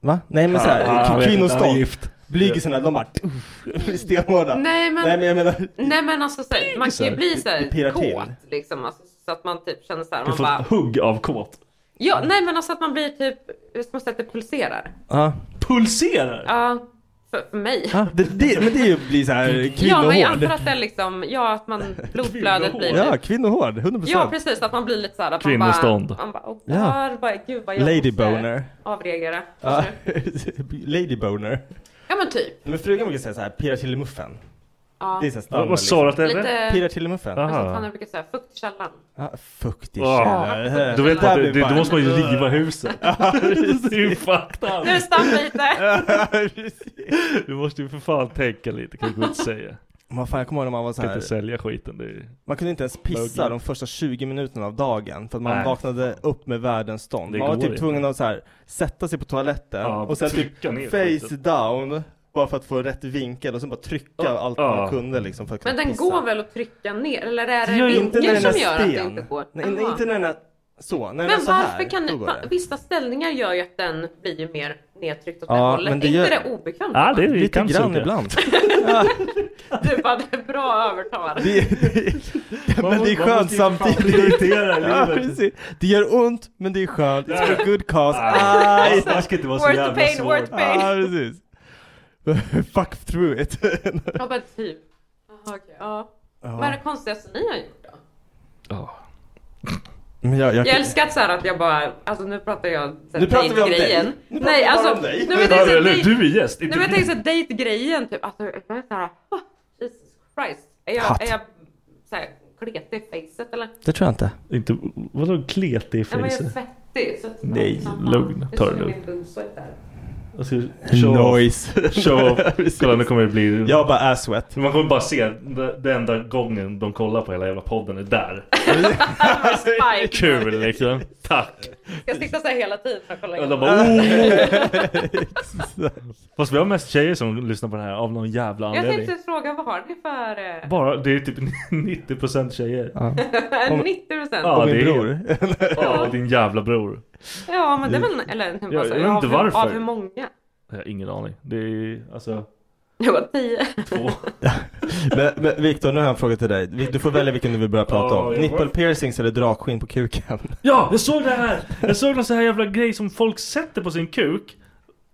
Va? Nej men såhär, Ah, jag vet inte, han är kvinnostånd. gift. Blygelserna, de bara... blir stenhårda. Nej, men- Nej men jag menar... Nej men alltså så här, man kan ju bli Det såhär pirrar till. kåt liksom. Alltså, så att man typ känner såhär, Jag man får bara... ett hugg av kåt. Ja, nej men alltså att man blir typ, som att det pulserar. Pulserar? Ja, för, för mig. Ja, det, det, men det är ju blir såhär Ja, men jag kvinnohård. antar att det är liksom, ja att man, blodflödet blir Ja, lite... kvinnohård. 100%. Ja precis, att man blir lite såhär att man Kvinnostånd. bara... Man bara, åh Ja. ja. bara, gud vad jag Lady måste boner. Avreagera. Ja. Lady boner. Ja men typ. Men frugan brukar säga såhär, pirrar till i muffen. Ja. Det är såhär Vad- vad sa du att det är? Lite- Pirrar liksom. till i muffen. Alltså, att han brukar säga fukt i källaren. Ja, fuktig Ah. källare. Du vet Där att det, blir det, då bara- måste man ju riva huset. det är ju fucked up. Nu stannar lite! Du måste ju för fan tänka lite kan du inte säga. Man, fan, jag kommer ihåg när man var Du kan såhär. inte sälja skiten. Det är... Man kunde inte ens pissa de första 20 minuterna av dagen för att man Nej. vaknade upp med världens stånd. Det Man var går typ inte. tvungen att så här, sätta sig på toaletten Ja, och sen typ trycka ner face skiten. down bara för att få rätt vinkel och sen bara trycka Ja. allt Ja. man kunde liksom för att Men kunna den pissa. går väl att trycka ner? Eller är det Det gör ju inte när vinkeln den är som gör att det sten. inte går? Nej, nej, Aha. inte när den är så, när den är Men så här, varför kan då ni, går va- det. vissa ställningar gör ju att den blir ju mer nedtryckt åt Ja, det hållet. men det är gör- inte det obekvämt? Ja, det är Lite kan grann suga. ibland. Du bara, det är bra övertalare. Man men det är må- man skönt måste ju fan samtidigt. prioritera i ja, livet. precis. Det gör ont, men det är skönt. It's for a good cause. Ah, Aj! det här ska inte vara så Worth the jävla pain, svårt. worth the pain. Ja, precis. Fuck through it. Ja men typ. Jaha okej. Ja. Ja. Vad är det konstigaste ni har gjort då? Men jag, jag, Jag, älskar att så här att jag bara, alltså nu pratar jag så här Nu pratar vi om dig. date-grejen. Nu pratar Nej vi bara alltså, om dig. nej, men jag tänker så här, Eller date- du är gäst, Nej inte men jag vi. tänker såhär date-grejen typ, alltså jag är såhär, oh, Jesus Christ. Är Hatt. jag, är jag såhär kletig i facet eller? Det tror jag inte. Inte, vadå kletig i Nej men jag är fejset? fettig. Så att, Nej, Aha. lugn. Jag Ta det känner lugnt. min bunsweat där. Alltså, Noise. Show off. Kolla nu kommer det bli... Jag bara asswet. Man kommer bara se den den enda gången de kollar på hela jävla podden är där. Spike. Kul liksom. Tack. Ska jag sitta såhär hela tiden och kolla Och in? de bara oh! Fast vi har mest tjejer som lyssnar på det här av någon jävla Jag anledning. tänkte fråga, vad har ni för... eh, Bara, det är typ 90% tjejer. Ja. 90%? Ja, Och min det är- bror. Ja, och din jävla bror. Ja men det är väl, eller Jag- alltså, jag vet inte av, varför. av hur många? Jag har ingen aning. Det är alltså... Det var tio. Två. Men, men Viktor, nu har jag en fråga till dig. Vi- Du får välja vilken du vill börja prata Ja, om. jag- Nipple piercings eller dragskinn på kuken? Ja, jag såg det här! Jag såg någon sån här jävla grej som folk sätter på sin kuk.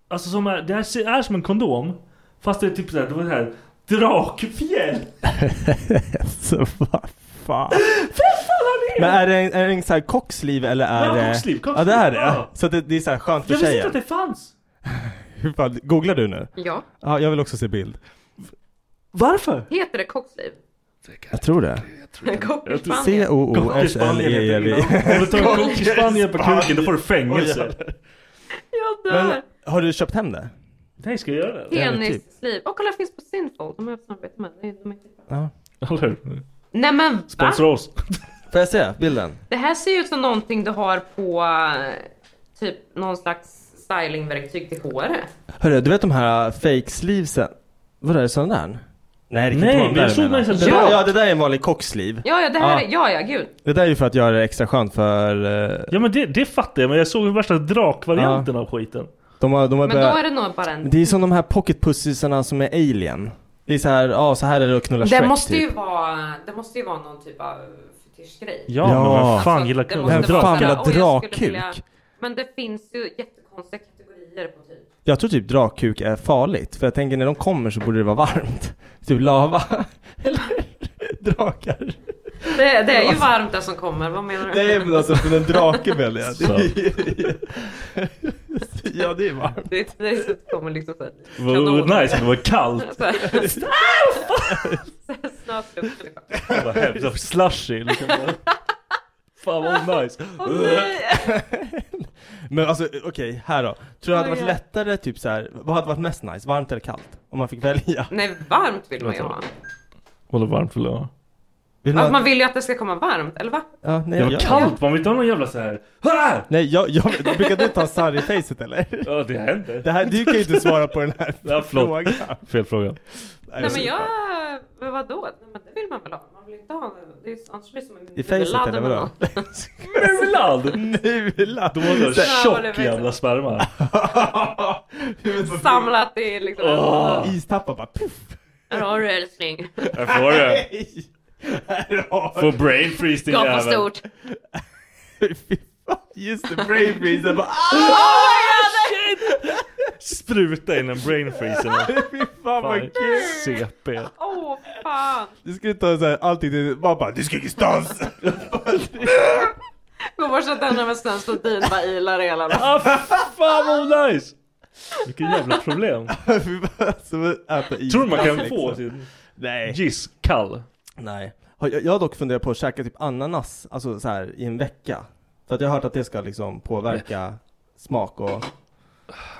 Alltså som är, det här ser- är som en kondom. Fast det är typ såhär, det var det här drakfjäll. alltså vad fan. Fan, Men är det en, är det en sån här kocksliv eller är Ja, det... kocksliv, kocksliv, Ja det är det? ja. Så det, det är så här skönt för Jag visste inte tjejen? att det fanns! Hur fan, googlar du nu? Ja. Ja, jag vill också se bild. Varför? Heter det kocksliv? Jag tror det. Cockispanien? C-O-O-S-L-E-L-I. Om du tar en kock i Spanien på kuken, då får du fängelse. Jag Men dör! har du köpt hem det? Nej, ska jag göra det? Penisliv. Och kolla det finns på Sinfold. De har haft samarbete med det. De är... Ja. Eller hur? Nej men va? Sponsra oss. Får jag se bilden? Det här ser ju ut som någonting du har på eh, typ någon slags stylingverktyg till håret. Hörru, du vet de här fake-sleevesen? Vad är det, sån där? Nej, det kan Nej, inte vara de men där jag såg menar. mig sån Det där. där- Ja, det där är en vanlig kocksliv. Ja, ja det Ja. här är, ja, ja gud. Det där är ju för att göra det extra skönt för... eh, Ja men det, det fattar jag, men jag såg den värsta drakvarianten av skiten. De har, de har Men då är det nog bara en... Det är som de här pocketpussisarna som är alien. Det är så här, ja så här är det att knulla Shrek Det måste ju typ. vara, det måste ju vara någon typ av fetischgrej. Alltså, Ja, men vem fan gillar det kul? måste Vem vara fan så här, gillar "Oj, jag skulle drakkuk?" vilja- Men det finns ju jättekonstiga kategorier på typ. Jag tror typ drakkuk är farligt. För jag tänker när de kommer så borde det vara varmt. Typ lava. Eller drakar. Det, det är ju varmt det som kommer, vad menar du? Nej men alltså för en drake väljer jag. Så. Ja det är varmt. Det är det är så att det kommer liksom såhär. Vad nice om det var kallt. Snöflukt. Det var hemskt, så slushy liksom. Fan vad nice. Men alltså okej, här då. Tror du det hade varit Oj. lättare typ så här, vad hade varit mest nice? Varmt eller kallt? Om man fick välja. Nej, varmt vill man ju ha. Håller varmt för lön. Vill Att man, man vill ju att det ska komma varmt, eller va? ja, nej, Det var jag, kallt, man vill inte ha någon jävla så här. "Ah!" Nej jag, jag, brukar du ta sarr i facet eller? Ja det händer. Det här, du kan ju inte svara på den här Ja, förlåt. frågan. Fel fråga. Nej men jag, men vadå? Nej, men det vill man väl ha? Man vill inte ha, det är, annars blir det som en I facet ladd eller man vadå? har. Mulad! Nula! Då var det Så- tjock jävla sperma. Samlat i liksom. Åh. Istappar bara puff! Här har du älskling. Jag får det. Nej! Här har Får brain freeze typ. din Gapa jävel. stort. du! Fy fan, Just det, brain freeze! Jag bara Spruta in en brain freeze. ah! Fy fan vad Fan, kul! CP. Åh fan. Du skulle ta såhär allting till... Man bara du ska ingenstans! Går borsta tänderna med snön, slår din, bara ilar i hela dagen. Ah, fan vad nice! Vilket jävla problem. Fy fan, Som att äta is. Tror du man kan liksom. få sin Nej. giss kall? Nej. Har- Jag jag har dock funderat på att käka typ ananas, alltså så här i en vecka. För att jag har hört att det ska liksom påverka smak och...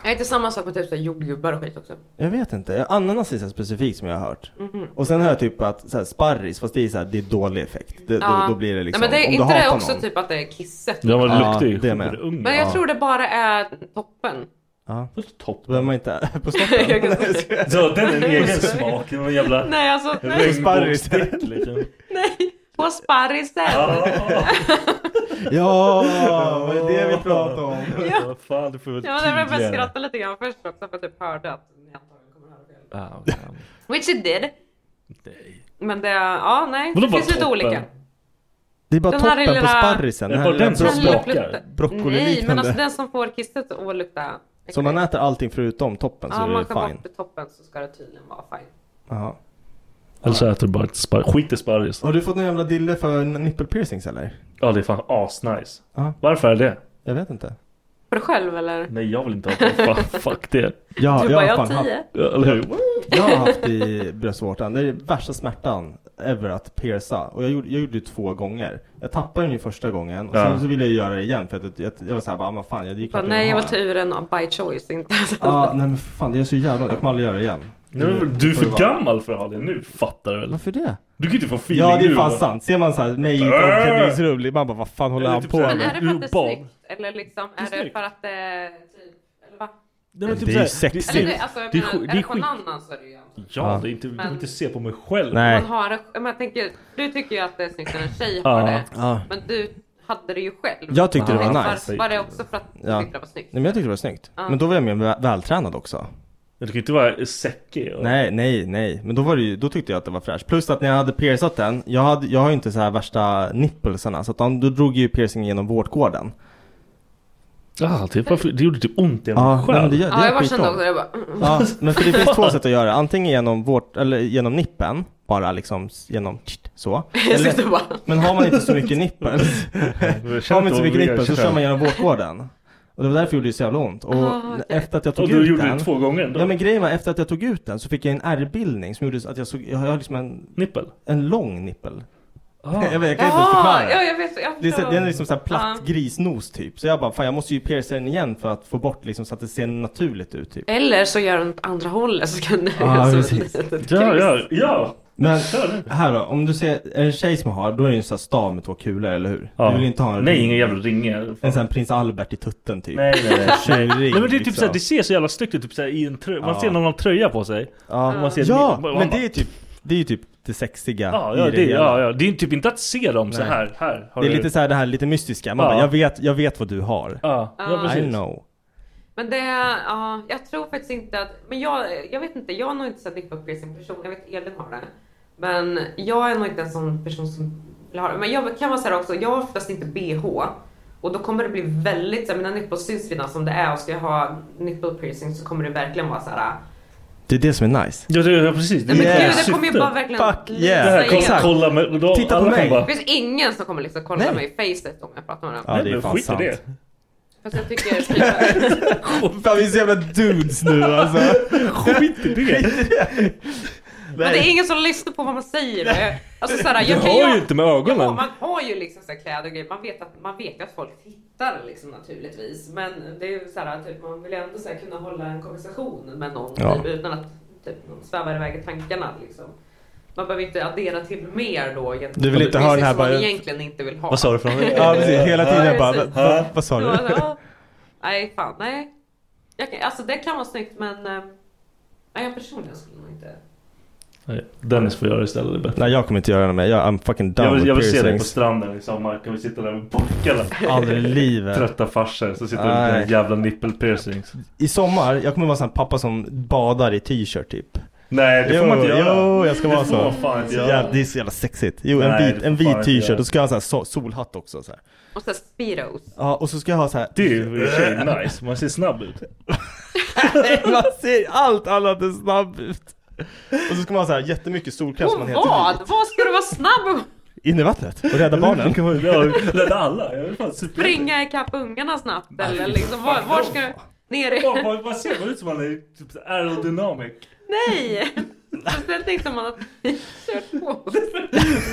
Jag heter samma sak på typ såhär jordgubbar och skit också. Mm. Jag vet inte. Ananas är så här specifikt som jag har hört. Och sen har jag typ att så här, sparris, fast det är så här, det är dålig effekt. Det, då, då blir det liksom, Nej, men det, om du inte hatar det också någon. typ att det är kisset? Ja men det luktar ju Ja, det med. skitunge. Men jag tror det bara är toppen. Ja. Topp. Då behöver man inte på Jag kan stoppen. säga. Så den är en egen smak. Någon jävla Nej alltså, nej. regnbågsdipp liksom. På sparrisen. Ah, ja, vad är det vi pratar om? ja. Fan du får väl Ja, men det var därför jag tydligare. skrattade lite grann först också för att jag typ hörde att ni antagligen kommer höra fel. Ah, okej. Which it did. Men det, ja nej. Vadå Det bara finns lite toppen? olika. Det är bara Den här toppen på lilla- sparrisen. Det är bara lilla den som bro- smakar. lilla plutta- broccoliliknande. Nej men alltså den som får kisset att lukta Så om man äter allting förutom toppen så Ja, man är det tar fine? bort toppen så ska det tydligen vara fine. Jaha. Eller så äter du bara ett sparris. Skit i sparris. Har du fått någon jävla dille för nippelpiercings eller? Ja det är fan asnice. Varför är det? Jag vet inte. För dig själv eller? Nej jag vill inte ha det. Fan, fuck det. Ja, Du jag bara, har jag fan har haft, tio. Ja, eller hur? jag har haft i bröstvårtan. Det är värsta smärtan ever att pierca. Och jag gjorde, jag gjorde det två gånger. Jag tappade den ju första gången och Ja. sen så ville jag göra det igen för att jag, jag var såhär bara, ah, men fan jag gick Bara, nej jag var turen och by choice inte. Ja, nej men fan det är så jävla, jag kommer aldrig göra det igen. Mm. Nej, men du är Får det för vara. gammal för att ha det nu. Fattar du väl? Varför det? Du kan ju inte få feeling Ja det är nu, fan va? Äh! sant. Ser man såhär, nej inte omklädningsrum. Man bara, vad fan håller Eller han typ på såhär, Men är med? det för att det är snyggt? Eller liksom, är det för att det är typ, eller va? Nej, men typ Det är ju såhär, sexigt. Eller det, alltså, jag det är menar, sk- är, det det är på skit. någon annan så är det ju jävligt. Ja, det är inte, jag Men- vill inte se på mig själv. Man har det, men jag tänker, du tycker ju att det är snyggt när en tjej har Ja. det. Ja. Men du hade det ju själv. Jag tyckte det var Var- nice. Var det också för att du Ja. tyckte det var snyggt? Nej men jag tyckte det var snyggt. Ja. Men då var jag mer väl- vältränad också. Du kan ju inte vara säckig. och- Nej, nej, nej. Men då, var det ju, då tyckte jag att det var fräscht. Plus att när jag hade piercat den, jag, hade, jag har ju inte så här värsta nippelsarna. Så att de, då drog ju piercingen genom vårtgården. Ja, det, var, det gjorde typ ont i Ja, mig nej, själv. men det gör- Ja, jag bara skitbra. kände också det. Jag bara... mm, Ja, men för det finns två sätt att göra. Antingen genom, vårt, eller genom nippen, bara liksom s- genom tst, så. Eller, sitter bara- men har man inte så mycket nippels, har man inte så mycket nippels så kör man genom vårtgården. Och det var därför det gjorde det så jävla ont. Och Ah, okej. efter att jag tog Och ut du den. gjorde det två gånger ändå? Ja men grejen var efter att jag tog ut den så fick jag en ärrbildning som gjorde så att jag såg, jag har liksom en... Nippel? En lång nippel. Ah. jag vet, jag kan inte ens Ja, förklara ja, det. jag vet. Jag Ah. Det är, så- förstår. det är liksom såhär platt Ja. grisnos typ. Så jag bara, fan jag måste ju pierca den igen för att få bort liksom så att det ser naturligt ut typ. Eller så gör den åt andra hållet så kan du... Ja, så- precis. Ja, ja, ja. Men här då, om du ser en tjej som har, då är det ju en sån här stav med två kulor, eller hur? Ja. Du vill inte ha en Nej, ring. ingen jävla ringe. En sån här prins Albert i tutten typ. Nej, nej, nej. Tjejring, nej men det, är typ liksom. såhär, det ser så jävla snyggt ut typ såhär, i en tröja. Man Ja. ser någon ha tröja på sig. Ja, Och man ser ja man men bara- det är typ det är ju typ det sexiga Ja, i ja, det, hela. ja, ja. det är typ inte att se dem så Nej. här. här har det är du- lite så här det här lite mystiska. Man Ja. bara, jag vet, jag vet vad du har. Ja, ja, Ja. I precis. know. Men det, ja, jag tror faktiskt inte att, men jag, jag vet inte, jag har nog inte sett nippelpiercing person, jag vet Elin har det. Men jag är nog inte en sån person som vill ha det. Men jag kan vara såhär också, jag har oftast inte bh. Och då kommer det bli väldigt, så här, mina nipples syns redan som det är och ska jag ha nippelpiercing så kommer det verkligen vara såhär. Det är det som är nice. Ja, det, ja precis. Nej men är gud, det kommer ju syftet. bara verkligen Fuck yeah. Det här kommer kolla med- då- Titta på alla kan mig. bara- Det finns ingen som kommer liksom kolla mig i facet om jag pratar med dem. Ja, det är fan skit i sant. det. Fast jag tycker Fan vi är så jävla dudes nu alltså. Skit i det. Men det är ingen som lyssnar på vad man säger. Alltså såhär, Du jag kan har ju ju inte med ögonen. Ja, man har ju liksom så här kläder och grejer. Man vet att, man vet ju att folk tittar liksom naturligtvis. Men det är ju så här, typ, man vill ju ändå så här, kunna hålla en konversation med någon Ja. typ, utan att typ, någon svävar iväg i tankarna. Liksom. Man behöver inte addera till mer då. gentemot Du vill inte ha den här som man bara- egentligen inte vill ha. Vad sa du för något? Ja, precis. Hela tiden Ja, bara, precis. va- va- vad sa du? Ja, alltså, ja. Nej, fan nej. Jag kan, alltså det kan vara snyggt men... eh, Nej, jag personligen skulle nog inte... Nej, Dennis får göra det istället, det är bättre. Nej jag kommer inte göra det med. Jag, I'm fucking done Jag vill, with jag vill se dig på piercings. stranden i sommar, kan vi sitta där med pojkarna? Aldrig i livet. Trötta farsor, så sitter du med dina Nej. jävla nippelpiercings. I sommar, jag kommer vara sån här pappa som badar i t-shirt typ. Nej, det jo, får man inte göra. Jo, jag ska Det vara får så. man fan inte Så göra. jävla- det är så jävla sexigt. Jo, en Nej, vit, det en får fan vit inte t-shirt. göra. Då ska jag ha så här so- solhatt också så här. Och så här speedos. Ja, och så ska jag ha så här. Det är ju i och för sig nice, man ser snabb ut. man ser allt annat än snabb ut. Och så ska man ha så här jättemycket solkräm som Och man heter vad? Vad ska du vara snabb och In i vattnet och rädda barnen. Rädda alla. Jag vill fan springa ikapp ungarna snabbt eller liksom var, var ska du? Ner i... Vad- vad- Vad ser man ut som man är typ så här aerodynamic? Nej! Sen tänkte man att vi kört på.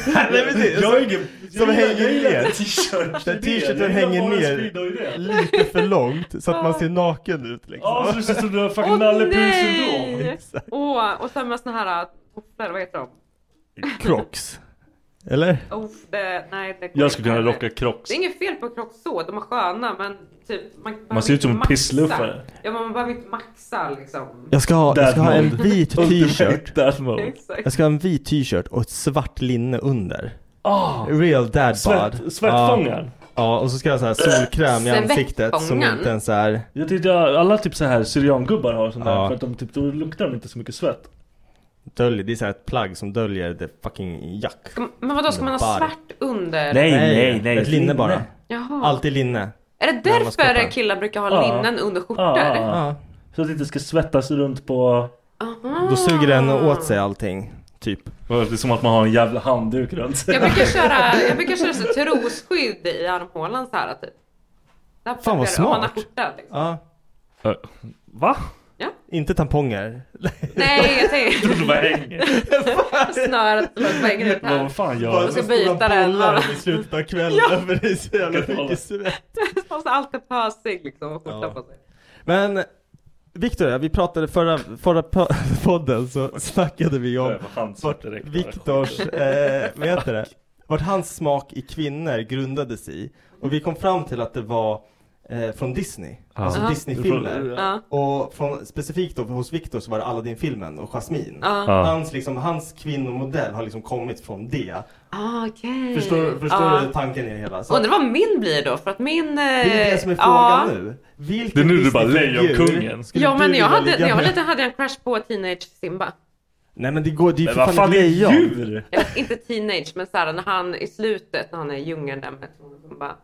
Jag är ingen... Som jag gillar- hänger jag gillar ner. t-shirts. Den Det är t-shirten det. hänger Jag gillar ner bara en speedo i det. lite för långt så att man ser naken ut liksom. Ja, så det ser ut som du har Åh fucking Nalle nej! Puh-syndrom. Åh, och sen med såna här tofflor, vad heter de? Crocs. Eller? Oh, det, nej, det går Jag skulle inte. kunna rocka Crocs. Det är inget fel på Crocs så, de är sköna men typ man, behöver ser ut som inte en maxa. pissluffare. Ja men man behöver inte maxa liksom. Jag ska ha, jag ska ha Dad en mode. vit Ultimate t-shirt. dad mode. Exakt. Jag ska ha en vit t-shirt och ett svart linne under. Ah. Real dad Svett- bod. svettfångaren. Ja. ja, och så ska jag ha så här solkräm i ansiktet som Svettfångaren. inte ens är... Jag tyckte jag- alla typ så här syriangubbar har sån där Ja. för att de typ, då luktar de inte så mycket svett. Döljer, det är så här ett plagg som döljer det fucking jack. Men vadå, ska man ha Bara. svart under? Ett linne bara. Jaha. Alltid linne. Är det Gamla skottar. därför killar brukar ha Ja. linnen under skjortor? Ja, ja, ja. Så att det inte ska svettas runt på... Aha. Då suger den åt sig allting, typ. Det är som att man har en jävla handduk runt sig. Jag brukar köra, jag brukar köra så trosskydd i armhålan så här typ. Där Fan, vad packar- om man har smart. skjorta, liksom. Ja. Va? Ja. Inte tamponger. Nej, jag tänker... Det bara hänger. Snöret som hänger ut Vad- här. vad fan gör jag jag? ska Stora byta den. bollar bara. i slutet av kvällen, för det är så jävla mycket svett. Måste alltid pösig liksom och skjorta på sig. Men Victor, vi pratade förra, förra po- podden så snackade vi om vart Viktors, eh, vad heter det? Vart hans smak i kvinnor grundades i. Och vi kom fram till att det var eh, från Disney, Ja. alltså Ja. Disney-filmer. Ja. Och från, specifikt då hos Victor så var det Aladdin-filmen och Jasmine. Ja. Ja. Hans, liksom, hans kvinnomodell har liksom kommit från det. Ah, okej. Förstår, förstår Ja. du tanken i det hela? Så- Undrar vad min blir då? För att min... det är det som är frågan nu. Vilken Det är nu du bara, Disney-figur Lejonkungen. skulle Ja du men vilja jag hade, ligga när jag var med? liten hade jag en crush på Teenage Simba. Nej men det går, det är ju Men vad för fan fan är ett lejon. djur? Eller, inte teenage men såhär när han i slutet när han är i djungeln där med hon bara,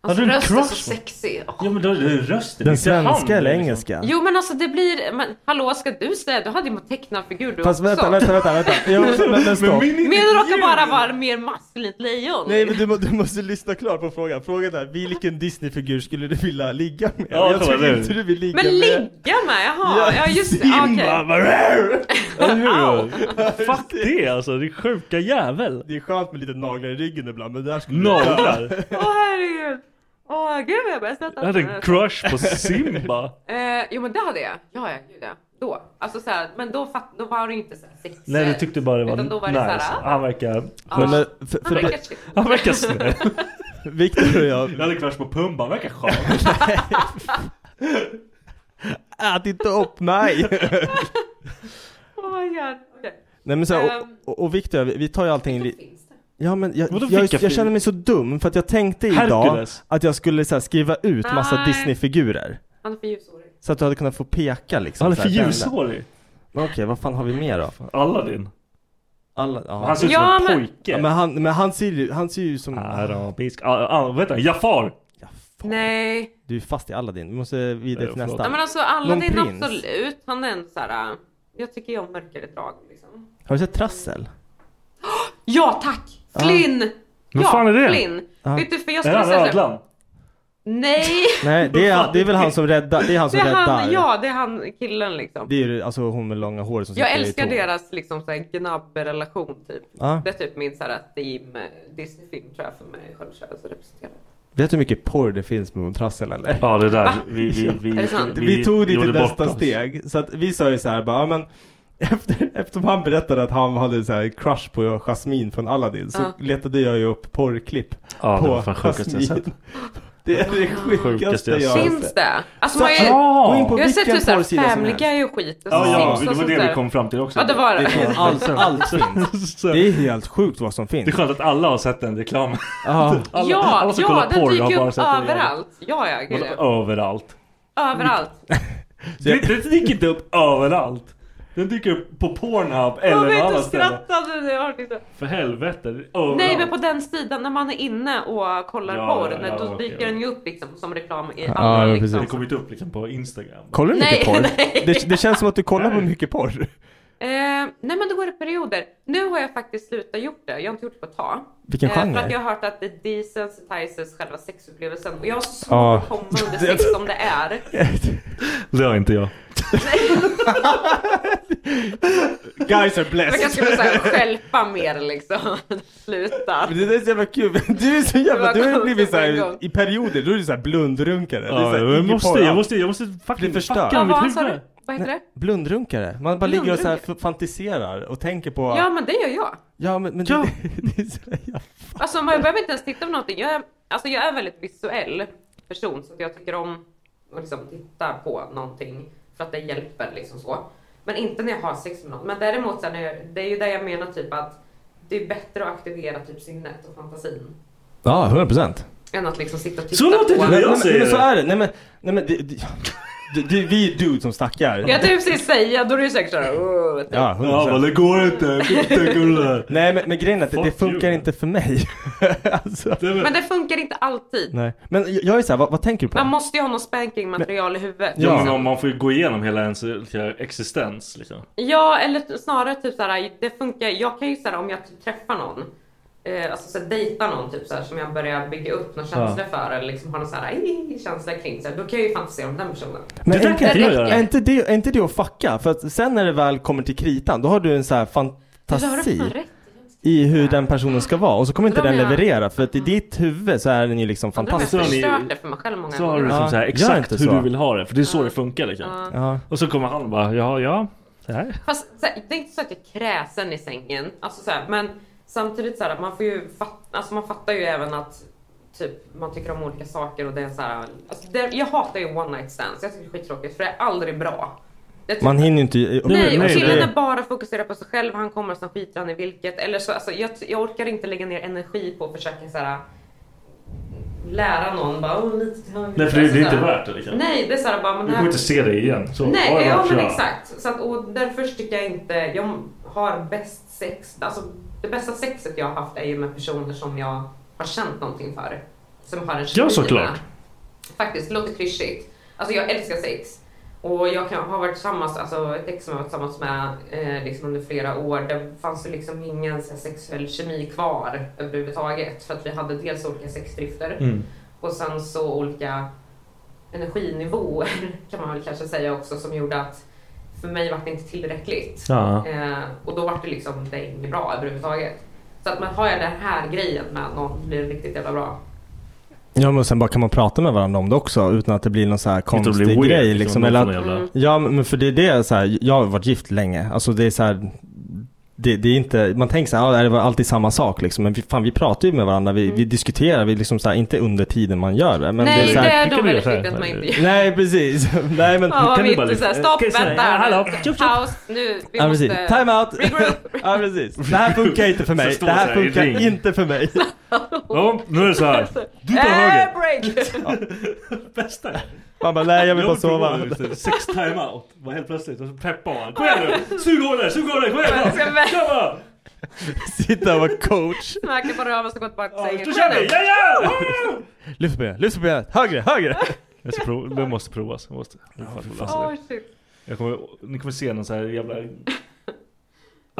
Hans Hade du en röst är crush så på- sexig. Åh. Ja men då är det rösten. Den inte svenska handen, eller liksom. engelska? Jo men alltså det blir, men hallå ska du säga, du hade ju mot tecknarfigur du Fast också. vänta, vänta, vänta, vänta. Jo, men, men, stopp. Min råkar bara vara mer maskulint lejon. Nej men du, må, du måste lyssna klart på frågan. Frågan är vilken Disney-figur skulle du vilja ligga med? Ja, jag kolla tror nu. inte du vill ligga men med... ligga med, jaha. Ja, just det. Simba, okej. vad rare! Eller hur? Fuck det alltså, din sjuka jävel. Det är skönt med lite naglar i ryggen ibland men det här skulle... Naglar? Åh herregud. Åh gud vad jag börjar svettas. Jag hade en crush på Simba. Eh, jo men det hade jag. Ja, ja, gud ja. Då. Alltså såhär, men då, fatt, då var det ju inte såhär sexigt. Nej du tyckte bara det var, Utan då var det nice. såhär, ah. han verkar... Men, men, för, Han för verkar det, chill. Han verkar snäll. Victor och jag... Jag hade crush på Pumba, han verkar skön. Ät inte upp mig! Oh my god. Okej. Nej men så här, Ehm. och, och Victor, vi vi tar ju allting li- Ja men jag, Vadå jag, vilka jag, film? känner mig så dum för att jag tänkte idag Hercules. att jag skulle så här, skriva ut massa Nej. Disney-figurer. Han är för ljushårig. Så att du hade kunnat få peka liksom. Han är för så här, den- ljushårig. Men okej, vad fan har vi mer då? Aladdin. Alla, ja. Han ser ut som Ja, en men- pojke. Ja, men han, men han ser ju, han ser ju som... Arabisk. Ah, ah, vänta, Jafar! Nej. Du är fast i Aladdin, vi måste vidare till förlåt. nästa. Nej men alltså Aladdin Någon prins? absolut. Han är en såhär, äh, jag tycker ju om mörkare drag liksom. Har du sett Trassel? Ja tack! Flynn! Vad ja, fan är det? Flynn! Ja. Vet du för jag Är skulle han säga såhär, ödlan? nej! Nej, det är, det är väl han som räddar, det är han Det som är räddar. han, ja det är han killen liksom. Det är ju alltså hon med långa hår som Jag sitter i älskar tåg. deras liksom såhär gnabb-relation typ. Ja. Det är typ min såhär theme, Disney-film tror jag för mig själv så representerar. Vet du hur mycket porr det finns med hon Trassel eller? Ja det där, Va? vi, vi, vi, Är det sant? Vi, tog det till gjorde bort nästa oss. steg. Så att vi sa ju så här bara, ja, men efter, eftersom han berättade att han hade så här crush på Jasmine från Aladdin så Ja. letade jag ju upp porrklipp Ja, det var på fan sjukaste jag Jasmine. Det är det sjukaste jag jag sett. har Finns sett. det? Alltså Så- man har ju, Ja! Gå in på jag har sett vilken typ såhär porrsida som Family helst. Guy och skit. och Ja, så ja, Alltså, Simpsons det var och det sådär. vi kom fram till också. Ja det var det. finns allt, allt finns. Så- Alltså. Det är helt sjukt vad som Det är finns. skönt att alla har sett den reklamen. Ja. Alla, ja, alla som ja kollar den porr dyker har bara upp sett den överallt. Ja, ja, gud, jävla- ja. Vadå överallt? Överallt. Det, det dyker inte upp överallt. Den dyker upp på Pornhub eller Jag någon vet, du annan ställe. skrattade när jag hörde det. För helvete. det är Överallt. Nej, men på den sidan när man är inne och kollar Ja, porr, ja, när- ja, då okej, dyker ja. den ju upp liksom, som reklam i Ja, alla ja, liksom. precis. Det kommer inte upp liksom på Instagram. Kollar du Nej, mycket porr? nej. Det, det känns som att du kollar på mycket porr. Eh, nej, men då går det perioder. Nu har jag faktiskt slutat gjort det. Jag har inte gjort det på ett tag. Vilken För genre? att eh, jag har hört att det desensitizes själva sexupplevelsen och jag har så svårt Ja. att komma under sex som det är. Det har inte jag. Guys Man kanske are blessed. skulle säga skälpa mer liksom. Sluta. Men Det där är så jävla kul. Du är så jävla, du har blivit såhär i perioder, då är du såhär blundrunkare. Det är så Ja, här, jag, ingen måste, porr jag alls. måste, jag måste fucking förstör. fucka Ja, Vad mitt han sa huvud. du? Vad heter det? Blundrunkare. Man bara ligger och så här f- fantiserar och tänker på... Ja, men det gör jag. Ja, men, men det, det är så jävla... Alltså man behöver inte ens titta på någonting. Jag är, alltså, jag är en väldigt visuell person så att jag tycker om att liksom titta på någonting för att det hjälper liksom så. Men inte när jag har sex med någon. Men däremot sen är, det är ju det jag menar typ att det är bättre att aktivera typ sinnet och fantasin Ja, 100 procent. än att liksom sitta och titta Så låter på. det när jag men, säger men så det. är det. Nej men, nej men det, det, Det, det, vi är dudes som snackar. Jag tänkte precis säga, då är det ju säkert såhär... "Åh", vet du. Ja, Ja, men det går inte. Nej men, men grejen är att det, det funkar inte för mig. alltså. Men det funkar inte alltid. Nej. Men jag- jag är såhär, vad, vad tänker du på? Man måste ju ha något spankingmaterial i huvudet. Ja, liksom. men man får ju gå igenom hela ens hela existens liksom. Ja, eller t- snarare typ såhär, det funkar, jag kan ju såhär om jag typ träffar någon, eh, alltså såhär, dejtar någon typ såhär som jag börjar bygga upp någon känsla för eller liksom har någon såhär "Ej", känsla kring sig, då kan jag ju fantisera om den personen. Men är, inte- räcker. är, inte det, är inte det att fucka? För att sen när det väl kommer till kritan, då har du en så här Det har du fantasi fan rätt. i hur den personen ska vara. Och så kommer inte Men då den menar jag- leverera, för att i ditt huvud så är den ju liksom Undrar om fantastisk. jag har förstört det för mig själv många Så har du gånger. liksom Ja, så här, gör exakt inte hur så. du vill ha det. För det är så det funkar liksom. Ja. Och så kommer han och bara, ja, ja. Så här. Fast så här, det är inte så att jag är kräsen i sängen. Alltså, så här, men samtidigt så här, man får ju fatta, alltså, man fattar ju även att typ, man tycker om olika saker och det är så här, alltså, det, Jag hatar ju one night stands. Jag tycker det är skittråkigt för det är aldrig bra. Jag tycker- Man hinner inte... Nej, Nej, och killen är bara fokuserar på sig själv. Han kommer och sen skiter han i vilket. Eller så, alltså, jag, jag orkar inte lägga ner energi på att försöka så här, lära någon. Bara, "Åh, lite till höger." Nej, för det- det är Alltså, inte så här. värt det, liksom. Nej, det är så här, bara, men Du här- får inte se det igen. Så, Nej, oj, ja oj, men oj. exakt. Så att, och därför tycker jag inte, jag har bäst sex, alltså det bästa sexet jag har haft är ju med personer som jag har känt någonting för. Som har en kemi Ja, med. såklart. Faktiskt, det låter klyschigt. Alltså jag älskar sex. Och jag kan, har varit tillsammans, alltså ett ex som jag har varit tillsammans med eh, liksom under flera år, det fanns ju liksom ingen så här, sexuell kemi kvar överhuvudtaget. För att vi hade dels olika sexdrifter Mm. och sen så olika energinivåer kan man väl kanske säga också som gjorde att för mig var det inte tillräckligt. Ja. Eh, och då var det liksom, det är inget bra överhuvudtaget. Så att man har jag den här grejen med någon blir det riktigt jävla bra. Ja men sen bara kan man prata med varandra om det också utan att det blir någon så här att det konstig blir weird, grej liksom, liksom. någon Eller form av att, jävla- ja men för det är det så här, jag har varit gift länge. Alltså det är så här, det, det är inte, man tänker så här, ja, det var alltid samma sak liksom. Men vi, fan vi pratar ju med varandra, vi, vi diskuterar, vi liksom så här, inte under tiden man gör det. Men Mm. Nej, det är, så här, det är då Kan du väldigt göra så här? viktigt att man inte gör. Nej precis. Nej men. Ja, vi inte såhär, stopp, Okej, så här, vänta, ja, hallå, nu, tjoff, paus, nu, vi Ja, måste... precis. Time out! ja precis. Det här funkar inte för mig. Så står Det här så här i funkar ring. inte för mig. Ja, nu är det så här. Du tar höger! break! Bästa. Man bara, nej jag vill bara vill prova sova. nu, Sex timeout. Bara helt plötsligt. Och så peppar man. Kom igen nu! Sug av dig! Sug av dig! Kom igen! Ska vi- Kör bara! Sitta och vara coach. Märker på röven som gått bak på sängen. Då kör vi! Ja, ja! Woo! Lyft på benet, lyft på benet, högre, högre! Jag ska prova, det måste provas. Jag måste. Jag får fan läsa Åh, det. shit. Jag kommer, ni kommer se någon så här jävla Man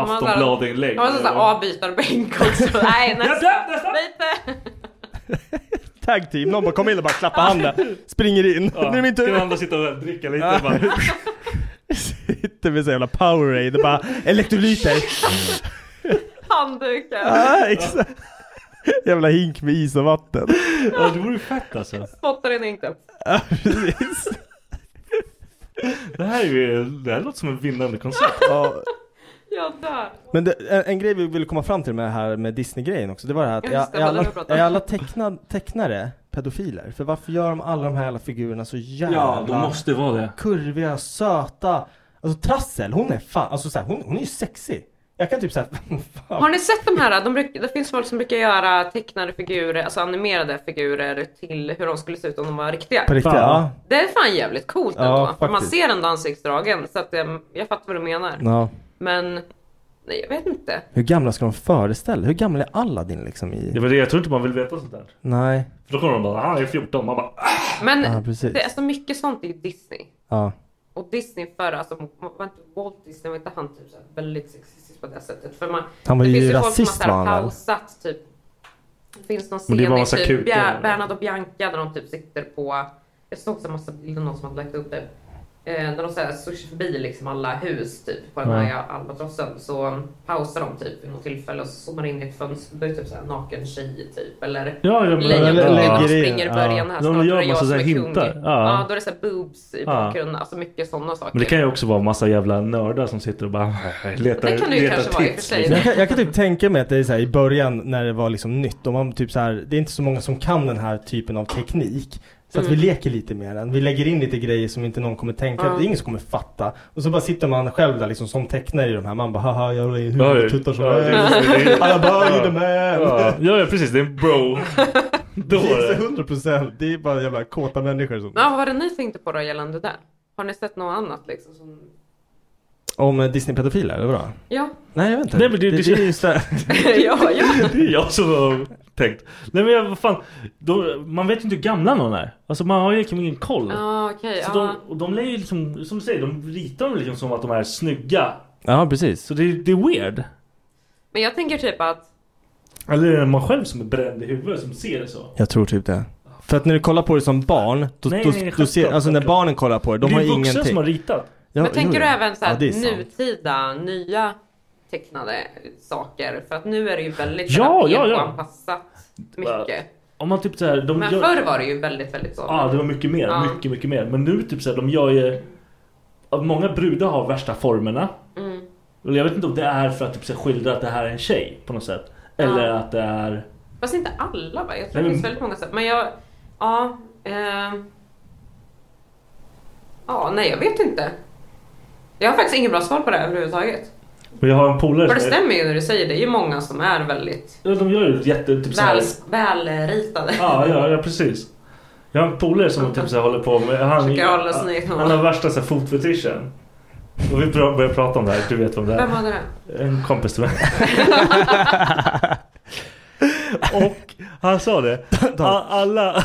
har så här- Aftonbladet-inlägg. Man har sån här avbytarbänk också. Nej, nästa! Lite! Tag team, någon bara kommer in och bara klappar handen, springer in. Ja, nu är min tur! kan andra sitta och dricka lite Ja. bara. Sitter med så jävla powerade och bara elektrolyter. Handdukar. ah, exakt. Jävla hink med is och vatten. Ja, det vore fett alltså. Spottar in inte. Ja, precis. Det här, är ju, det här låter som ett vinnande koncept. Ja, Jag dör. Men det, en, en grej vi ville komma fram till med det här med Disney-grejen också, det var det här att Ja, är, just det, är vad alla, du pratade om. är alla teckna, tecknare pedofiler? För varför gör de alla de här jävla figurerna så jävla Ja, de måste vara det. kurviga, söta? Alltså Trassel, hon är fan, alltså så här, hon, hon är ju sexig. Jag kan typ såhär, Har ni sett de här? De bruk, det finns folk som brukar göra tecknade figurer, alltså animerade figurer till hur de skulle se ut om de var riktiga. På riktigt, ja. Det är fan jävligt coolt Ja, ändå. För man faktiskt. ser ändå ansiktsdragen så att jag, jag fattar vad du menar. ja. Men nej, jag vet inte. Hur gamla ska de föreställa? Hur gammal är Aladdin liksom i... Det var det, jag tror inte man vill veta sånt där. Nej, För då kommer de bara, han är 14. Man bara, ah! Men Ja, precis. det är så mycket sånt i Disney. ja. Och Disney förr, alltså var inte Walt Disney, var inte han typ så här väldigt sexistisk på det sättet? För man, Han var det ju finns rasist, folk som har var så här han, pausat typ. Det finns någon Men scen det i var massa typ kukar, Bja- eller? Bernhard och Bianca där de typ sitter på, jag såg också en massa bilder någon som hade lagt upp det. Eh, när de så här swishar förbi liksom alla hus typ på den här Ja. albatrossen så pausar de typ vid något tillfälle och så zoomar in i ett fönster. Då är det typ så här naken tjej typ eller Ja, ja, men- lejonkungen lägger som in, springer i början ja. här De snart. gör då är det jag massa som så är här kung. hintar, ja. ja, då är det så här boobs i Ja. bakgrunden. Alltså mycket sådana saker. Men det kan ju också vara massa jävla nördar som sitter och bara letar Det kan det ju letar kanske vara i och för tips, sig. liksom. Jag kan, jag kan typ tänka mig att det är så här, i början när det var liksom nytt och man typ så här, det är inte så många som kan den här typen av teknik. Så att Mm. vi leker lite med den. Vi lägger in lite grejer som inte någon kommer tänka, Ja. det är ingen som kommer fatta. Och så bara sitter man själv där liksom som tecknare i de här. Man bara haha jag rullar in Ja, huvudet tuttar som ja, det är- det helst. är- Alla bara ja. you're the man. Ja, ja, precis. Det är en bro. Det Då är är det. 100 procent. Det är bara jävla kåta människor som... Ja, vad var det ni tänkte på då gällande det där? Har ni sett något annat liksom? Som... Om eh, Disney-pedofiler, eller vadå? Ja. Nej, jag vet inte. Nej, men det- det- är just det. ja, ja. Det är jag som har tänkt. Nej men jag, vad fan. De, man vet ju inte hur gamla någon är. Alltså man har ju liksom ingen koll. Ja, okej. ja. Så de, och de är ju liksom, som du säger, de ritar dem liksom som att de är snygga. Ja, precis. Så det, det är weird. Men jag tänker typ att... Eller är det man själv som är bränd i huvudet som ser det så? Jag tror typ det. För att när du kollar på det som barn, då, Nej, då, nej, då självklart, ser, alltså när barnen kollar på det, de Det är har ju vuxna ingenting. som har ritat. Ja, men tänker jo, du jo. även så här, Ja, det är sant. nutida, nya tecknade saker? För att nu är det ju väldigt Ja, ja, ja. PK-anpassat mycket. Om man typ så här, de Men gör- förr var det ju väldigt, väldigt så. Ja, det var mycket mer. Ja. Mycket, mycket mer. Men nu typ så här, de gör ju... ja, Många brudar har värsta formerna. Mm. Och jag vet inte om det är för att typ så här, skildra att det här är en tjej på något sätt. Eller Ja. att det är... Fast inte alla va? Jag tror Nej, men- det finns väldigt många sätt. Men jag... Ja. ehm. Ja, nej jag vet inte. Jag har faktiskt inget bra svar på det här överhuvudtaget. Och jag har en polare För det som är- stämmer ju när du säger det. Det är ju många som är väldigt Ja, de gör ju jätte... Typ så här- väl, välritade. Ja, ja, ja precis. Jag har en polare som typ så här, håller på med... Han, Försöker hålla sina egna han har värsta så här, fotfetischen. Och vi bra- börjar prata om det här, du vet vem det är. Vem hade det? En kompis till mig. Och han sa det. a- Alla,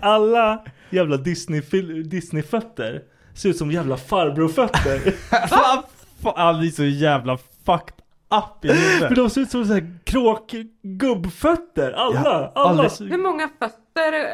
alla jävla Disney-fil- Disney-fötter ser ut som jävla farbrorfötter. Fan, det är så jävla fucked up i huvudet. För de ser ut som så här kråkgubbfötter. Alla. Ja, alla aldrig- ser- Hur många fötter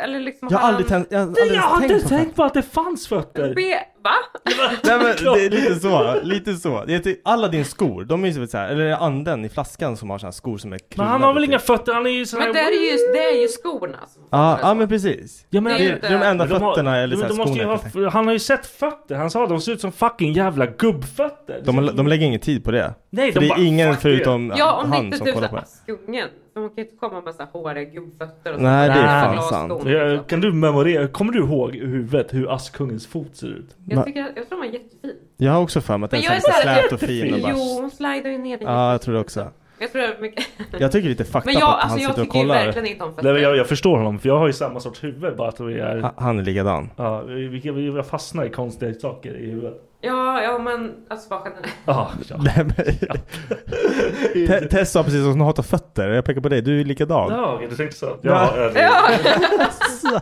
eller liksom Jag har han- aldrig, tänkt, jag har Du, aldrig jag har inte tänkt på det. tänkt på att det fanns fötter. Be- Va? Nej men det är lite så, lite så. Det är typ- alla dina skor, de är ju typ så här, eller är det anden i flaskan som har såna här skor som är typ? Men krullade? han har väl inga fötter? Han är ju sån här... Men det är ju, det är ju skorna. som- Ja, ja men precis. Ja, Det är men, ju det- inte- de enda Men de har- fötterna eller men så här de måste ju skorna. ha- Han har ju sett fötter. Han sa de ser ut som fucking jävla gubbfötter. De, har- de lägger ingen tid på det. Nej, För de det är bara, ingen "Fuck det." förutom Ja, om det han inte som typ kollar på det. Askungen. För man kan ju inte komma med så här håriga gubbfötter och Nej, så det är här fan glasskor. sant. Ja, Kan du memorera? Kommer du ihåg i huvudet hur Askungens fot ser ut? Jag, tycker, jag tror de var jättefin. Jag har också för mig att den är så här slät och fin och bara... Jo, hon slidar ju ner i. Ja, jag tror det också. Jag tror det är mycket. Jag tycker det är lite fucked Men up jag, att han alltså, jag sitter och tycker ju kollar. verkligen inte om fötter. Nej, men jag, jag förstår honom för jag har ju samma sorts huvud bara att vi är... Ha- Han är likadan. Ja, vi, vi, vi jag fastnar i konstiga saker i huvudet. Ja, ja men alltså bara generellt. Ja, ja. Nej, men- Te- Tess sa precis att hon hatar fötter, jag pekar på dig, du är likadan. Ja, okej, du tänkte så. Ja. Ja, ja. det- Ja.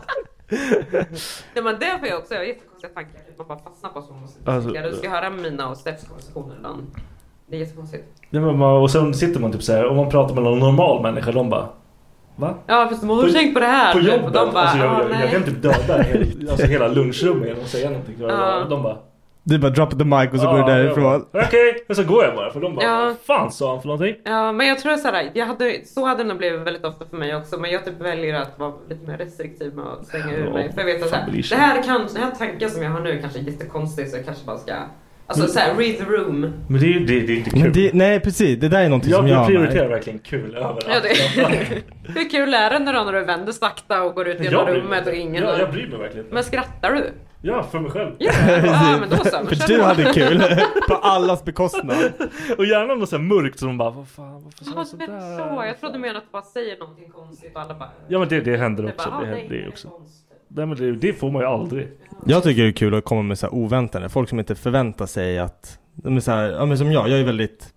Nej men det får jag också. Jag har jättekonstiga tankar. Man bara fastnar på sådana Alltså, saker. Du ska höra mina och Steffs konversationer ibland. Det är jättekonstigt. Nej, men man, och sen sitter man typ så här och man pratar med någon normal människa. De bara... Va? Ja fast de har du tänkt på det här? På typ? jobbet? Och de bara, alltså, jag, ah, jag, jag nej. kan typ döda hel, alltså, hela lunchrummet genom att säga någonting. Ja. De bara... Du bara droppar the mic och så går du "Ah", jag därifrån. bara, Okej, men så går jag bara. För de bara... Ja. Vad fan sa han för någonting? Ja, men jag tror såhär, jag hade, så hade det nog blivit väldigt ofta för mig också. Men jag typ väljer att vara lite mer restriktiv med att slänga ur Ja, mig. För jag vet att fan bryr såhär, sig. det här kan, den här tanken som jag har nu kanske är jättekonstig så jag kanske bara ska, alltså såhär Mm. read the room. Men det är ju det, det är inte kul. Men det, nej precis, det där är någonting som jag, jag har jag med. prioriterar verkligen kul överallt. Ja, det, hur kul är det nu då när du vänder sakta och går ut genom bryr mig rummet och inte. ingen ja, jag bryr mig verkligen inte. Men skrattar du? Ja, för mig själv. Ja, ja men då så. Men kör För du på. hade kul, på allas bekostnad. Och gärna något så här mörkt som de bara vad fan. vad- Ja, du menar så. Jag trodde du menade att du bara säger någonting konstigt och alla bara... Ja men det, det händer Det är också. bara, Det, ah, händer, nej, det också. Nej, men det, det får man ju aldrig. Jag tycker det är kul att komma med så här oväntade, folk som inte förväntar sig att, de är så här, ja men som jag, jag är väldigt,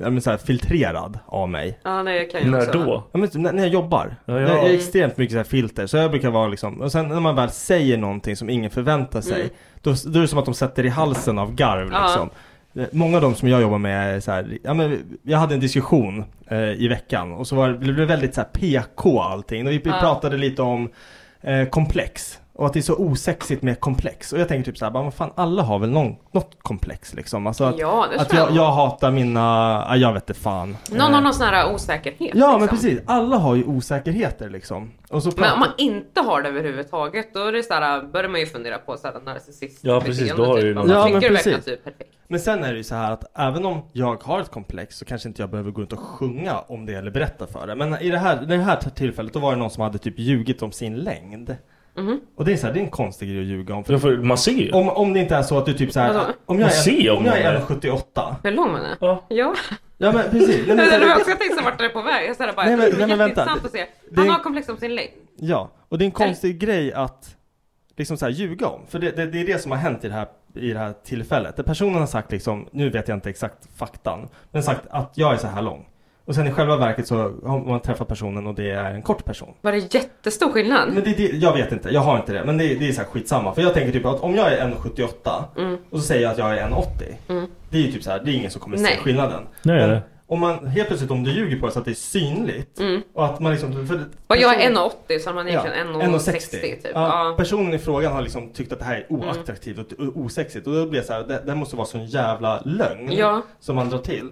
ja men så här filtrerad av mig. Ja, nej jag kan ju också. Ja, men, typ när, när jag jobbar. ja. Jag är extremt mycket så här filter. Så jag brukar vara liksom, och sen när man väl säger någonting som ingen förväntar sig. Mm. Då, då är det som att de sätter i halsen av garv Ja. liksom. Eh, Många av dem som jag jobbar med är så här, ja, men jag hade en diskussion eh, i veckan och så var, det- blev det väldigt så här PK allting. Och vi, vi Ja. pratade lite om eh, komplex. Och att det är så osexigt med komplex. Och jag tänker typ så här, bara, vad fan alla har väl någon, något komplex liksom. Alltså att, Ja, det att tror jag, jag. jag hatar mina, ja, jag vet inte fan. Någon har Eh, någon sån här osäkerhet. Ja men liksom. precis, alla har ju osäkerheter liksom. Och så Men pratar- om man inte har det överhuvudtaget då är det så här, börjar man ju fundera på såhär narcissist Ja, precis, då har typ. du ju Man någon- Ja, bara, men Tycker du verkligen att precis. du är perfekt? Men sen är det ju så här att även om jag har ett komplex så kanske inte jag behöver gå runt och sjunga om det eller berätta för det. Men i det här, det här tillfället då var det någon som hade typ ljugit om sin längd. Och det är så här, det är en konstig grej att ljuga om. Ja, för man ser ju. Om, om det inte är så att du typ så här, Vadå? om jag Man ser ju är, om om jag någon är är- 1,78. Hur lång man är? Ja. ja. Ja men precis. Nej, Men, men, så här, jag också tänkt så vart det är på väg. Jag såhär bara, Nej, men- det är nej, men vänta. jätteintressant att se. Det är- Han har komplex om sin längd. ja, och det är en konstig grej att liksom så här ljuga om. För det, det, det är det som har hänt i det, här, i det här tillfället. Där personen har sagt liksom, nu vet jag inte exakt faktan, men sagt att jag är så här lång. Och sen i själva verket så har man träffat personen och det är en kort person. Var det jättestor skillnad? Men det, det, jag vet inte, jag har inte det. Men det, det är så här skitsamma. För jag tänker typ att om jag är 1,78 Mm. och så säger jag att jag är 1,80. Mm. Det är ju typ så här, det är ingen som kommer se Nej. skillnaden. Nej, Men det. Om man helt plötsligt om du ljuger på det så att det är synligt Mm. och att man liksom... För, Och jag är personen- 1,80 så man är egentligen 1,60 typ. Ja, Ja. Mm. Personen i frågan har liksom tyckt att det här är oattraktivt och o- osexigt och då blir jag så här, det, det här måste vara sån jävla lögn Ja. som man drar till.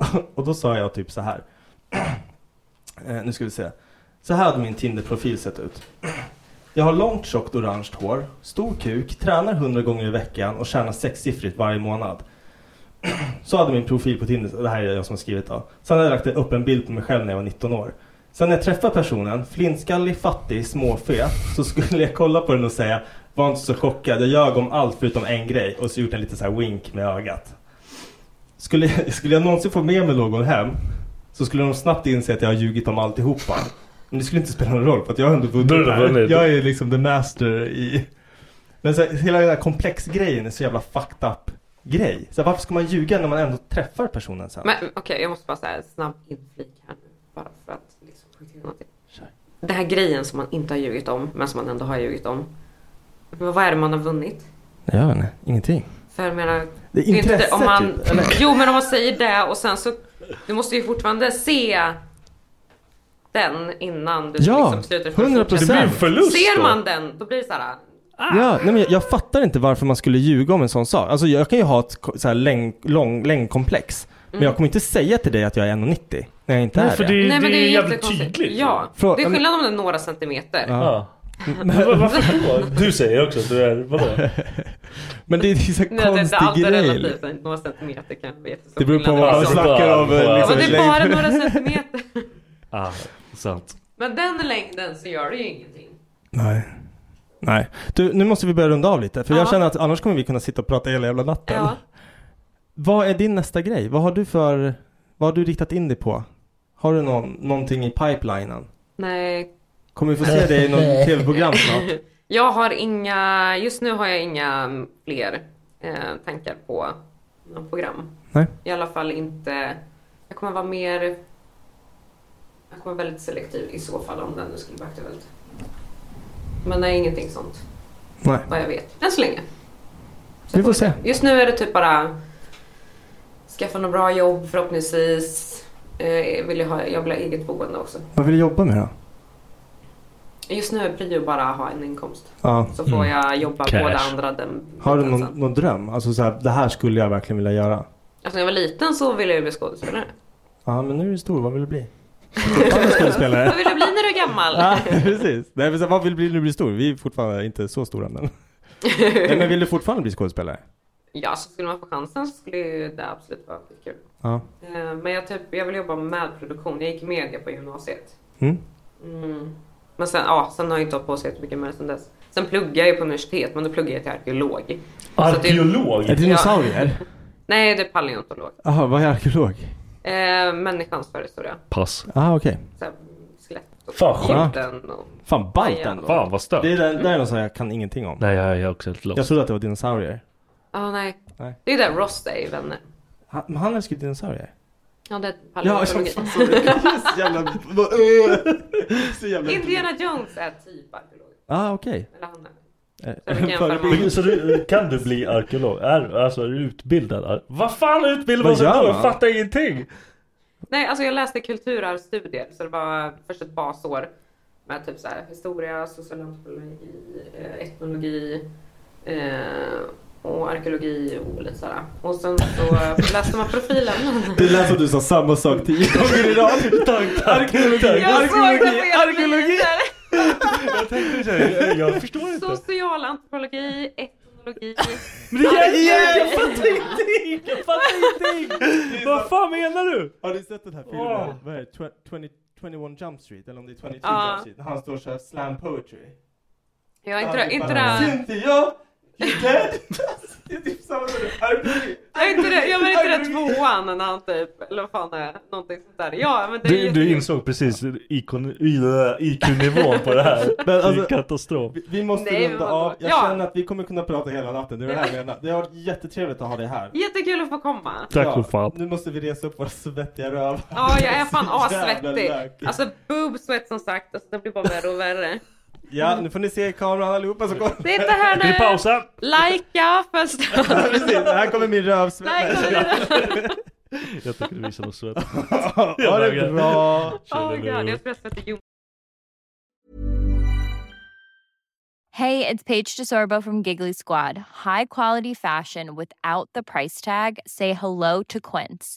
Och då sa jag typ så här. eh, nu ska vi se. Så här hade min Tinder-profil sett ut. Jag har långt tjockt orange hår, stor kuk, tränar 100 gånger i veckan och tjänar sexsiffrigt varje månad. Så hade min profil på Tinder, och det här är jag som har skrivit då. Sen hade jag lagt upp en bild på mig själv när jag var 19 år. Sen när jag träffade personen, flintskallig, fattig, småfet, så skulle jag kolla på den och säga Var inte så chockad, jag ljög om allt förutom en grej och så gjort en liten så här wink med ögat. Skulle, skulle jag någonsin få med mig någon hem så skulle de snabbt inse att jag har ljugit om alltihopa. Men det skulle inte spela någon roll för att jag har ändå vunnit Du har det här. vunnit. Jag är liksom the master i... Men så, här, hela den här komplexgrejen är så jävla fucked up grej. Så här, varför ska man ljuga när man ändå träffar personen sen? Men okej, jag måste bara säga snabb inflik här nu. Bara för att liksom skjuta in någonting. Den här grejen som man inte har ljugit om, men som man ändå har ljugit om. Men vad är det man har vunnit? Nej, jag vet inte. Ingenting. För jag menar... Det är intresse inte om man, typ, eller? Jo men om man säger det och sen så... Du måste ju fortfarande se den innan du Ja, liksom slutar för att 100%. fortsätta. Det blir en förlust Ser då. man den, då blir det så här... ah. Ja, nej men jag, jag fattar inte varför man skulle ljuga om en sån sak. Alltså jag kan ju ha ett ko- så här läng, lång, längdkomplex. Men Mm. jag kommer inte säga till dig att jag är 1,90 när jag inte Nej, är för det. det- Nej men det är, jävligt jättekonstigt. tydligt. Ja, Frå- det är skillnad om det är några centimeter. Ja. Varför då? Du säger också att du är... Vadå? Men det är så Nej, det, det, konstig allt är grej. liksom. relativt. Några centimeter kan vi Det beror på vad man snackar om. eh, Ja, men Liksom, det är längd. bara några centimeter. Ah, sant. Men den längden så gör det ju ingenting. Nej. Nej. Du, nu måste vi börja runda av lite. För jag Ja. känner att annars kommer vi kunna sitta och prata hela jävla natten. Ja. Vad är din nästa grej? Vad har du för... Vad har du riktat in dig på? Har du någon, någonting i pipelinen? Nej. Kommer vi få se dig i något tv-program snart? Jag har inga, just nu har jag inga fler eh, tankar på något program. Nej. I alla fall inte, jag kommer vara mer, jag kommer vara väldigt selektiv i så fall om den nu skulle bli aktuellt. Men nej, ingenting sånt. Nej. Vad jag vet. Än så länge. Vi får se. Just nu är det typ bara skaffa något bra jobb förhoppningsvis. Eh, vill jag, ha, jag vill ha eget boende också. Vad vill du jobba med då? Just nu är prio bara att ha en inkomst. Ja. Så får Mm. jag jobba Cash. på det andra. Den, Har du någon, någon dröm? Alltså så här, det här skulle jag verkligen vilja göra. Alltså när jag var liten så ville jag ju bli skådespelare. Ja, men nu är du stor. Vad vill du bli? Fortfarande skådespelare? Vad vill du bli när du är gammal? Ja, precis. Nej, men så här, vad vill du bli när du blir stor? Vi är fortfarande inte så stora men. Nej, men vill du fortfarande bli skådespelare? ja, så skulle man få chansen så skulle ju det absolut vara kul. Ja. Eh, Men jag, typ, jag vill jobba med produktion. Jag gick media på gymnasiet. Mm. Mm. Men sen, ja, sen har jag inte hållit på så mycket med det sen dess. Sen pluggar jag ju på universitet, men då pluggar jag till arkeolog. Arkeolog? Är det dinosaurier? Ja. Nej, det är paleontolog. Jaha, vad är arkeolog? Eh, människans förhistoria. Pass. Ah, okej. Så här, skelett och Fan, skönt. skjorten och... Fan, ballt Maja. ändå. Fan, vad stört. Det är, där, där är något som jag kan ingenting om. Nej, jag är också helt lost. Jag trodde att det var dinosaurier. Ja, nej. Nej. Det är ju där Ross är i Vänner. Han, men han älskar ju dinosaurier. Ja, det är Ja, som paleontologi. fan. Så så jävla... vad- eh, Så jävla... Indiana Jones är typ arkeolog. Ah, okej. Eller han är. Förebild. Så du, kan du bli arkeolog? Är, alltså är du utbildad? ar- Vad fan utbildar man Vad sig gör då? Jag man? fattar ingenting! Nej, alltså jag läste kulturarvsstudier så det var först ett basår med typ så här historia, social antropologi, eh, etnologi eh, och arkeologi och lite sådär. Och sen så läste man profilen. Det lät som du sa samma sak tio gånger i rad. Tack, Arkeologi, Jag såg det på arkeologi, era arkeologi! Jag tänkte så här, jag, jag förstår inte. Social antropologi, etnologi. Men det är, jag, jag arkeologi. fattar ingenting! Jag fattar ingenting! Vad fan menar du? Har du sett den här filmen? Åh. Vad är det? Tw- 20, 21 Jump Street? Eller om det är 22 Ja. Jump Street? Han står och kör slam poetry. Jag är Han inte, typ inte bara, det... Cynthia! Nej, inte det, jag var inte det tvåan när han typ, eller vad fan det är, någonting sånt där. Ja, men det är Du, jätte- du insåg precis ikon- IQ-nivån på det här. Men Det är alltså- katastrof. Vi måste Nej, runda men vadå? av. Jag Ja. känner att vi kommer kunna prata hela natten. Det är det här jag menar. Det har varit jättetrevligt att ha dig här. Jättekul att få komma. Ja, Nu måste vi resa upp våra svettiga rövar. Ja, jag är fan Så jävla assvettig. lök. Alltså boob sweat som sagt, alltså, det blir bara värre och värre. Ja, nu får ni se i kameran allihopa som kommer. Sitta här nu! Likea först! Precis, här kommer min rövsvett. Jag tycker du visar något svett. Ha det bra. Oh my god, jag tror jag svettig jord. Hey, it's Paige DeSorbo from Giggly Squad. High quality fashion without the price tag. Say hello to Quince.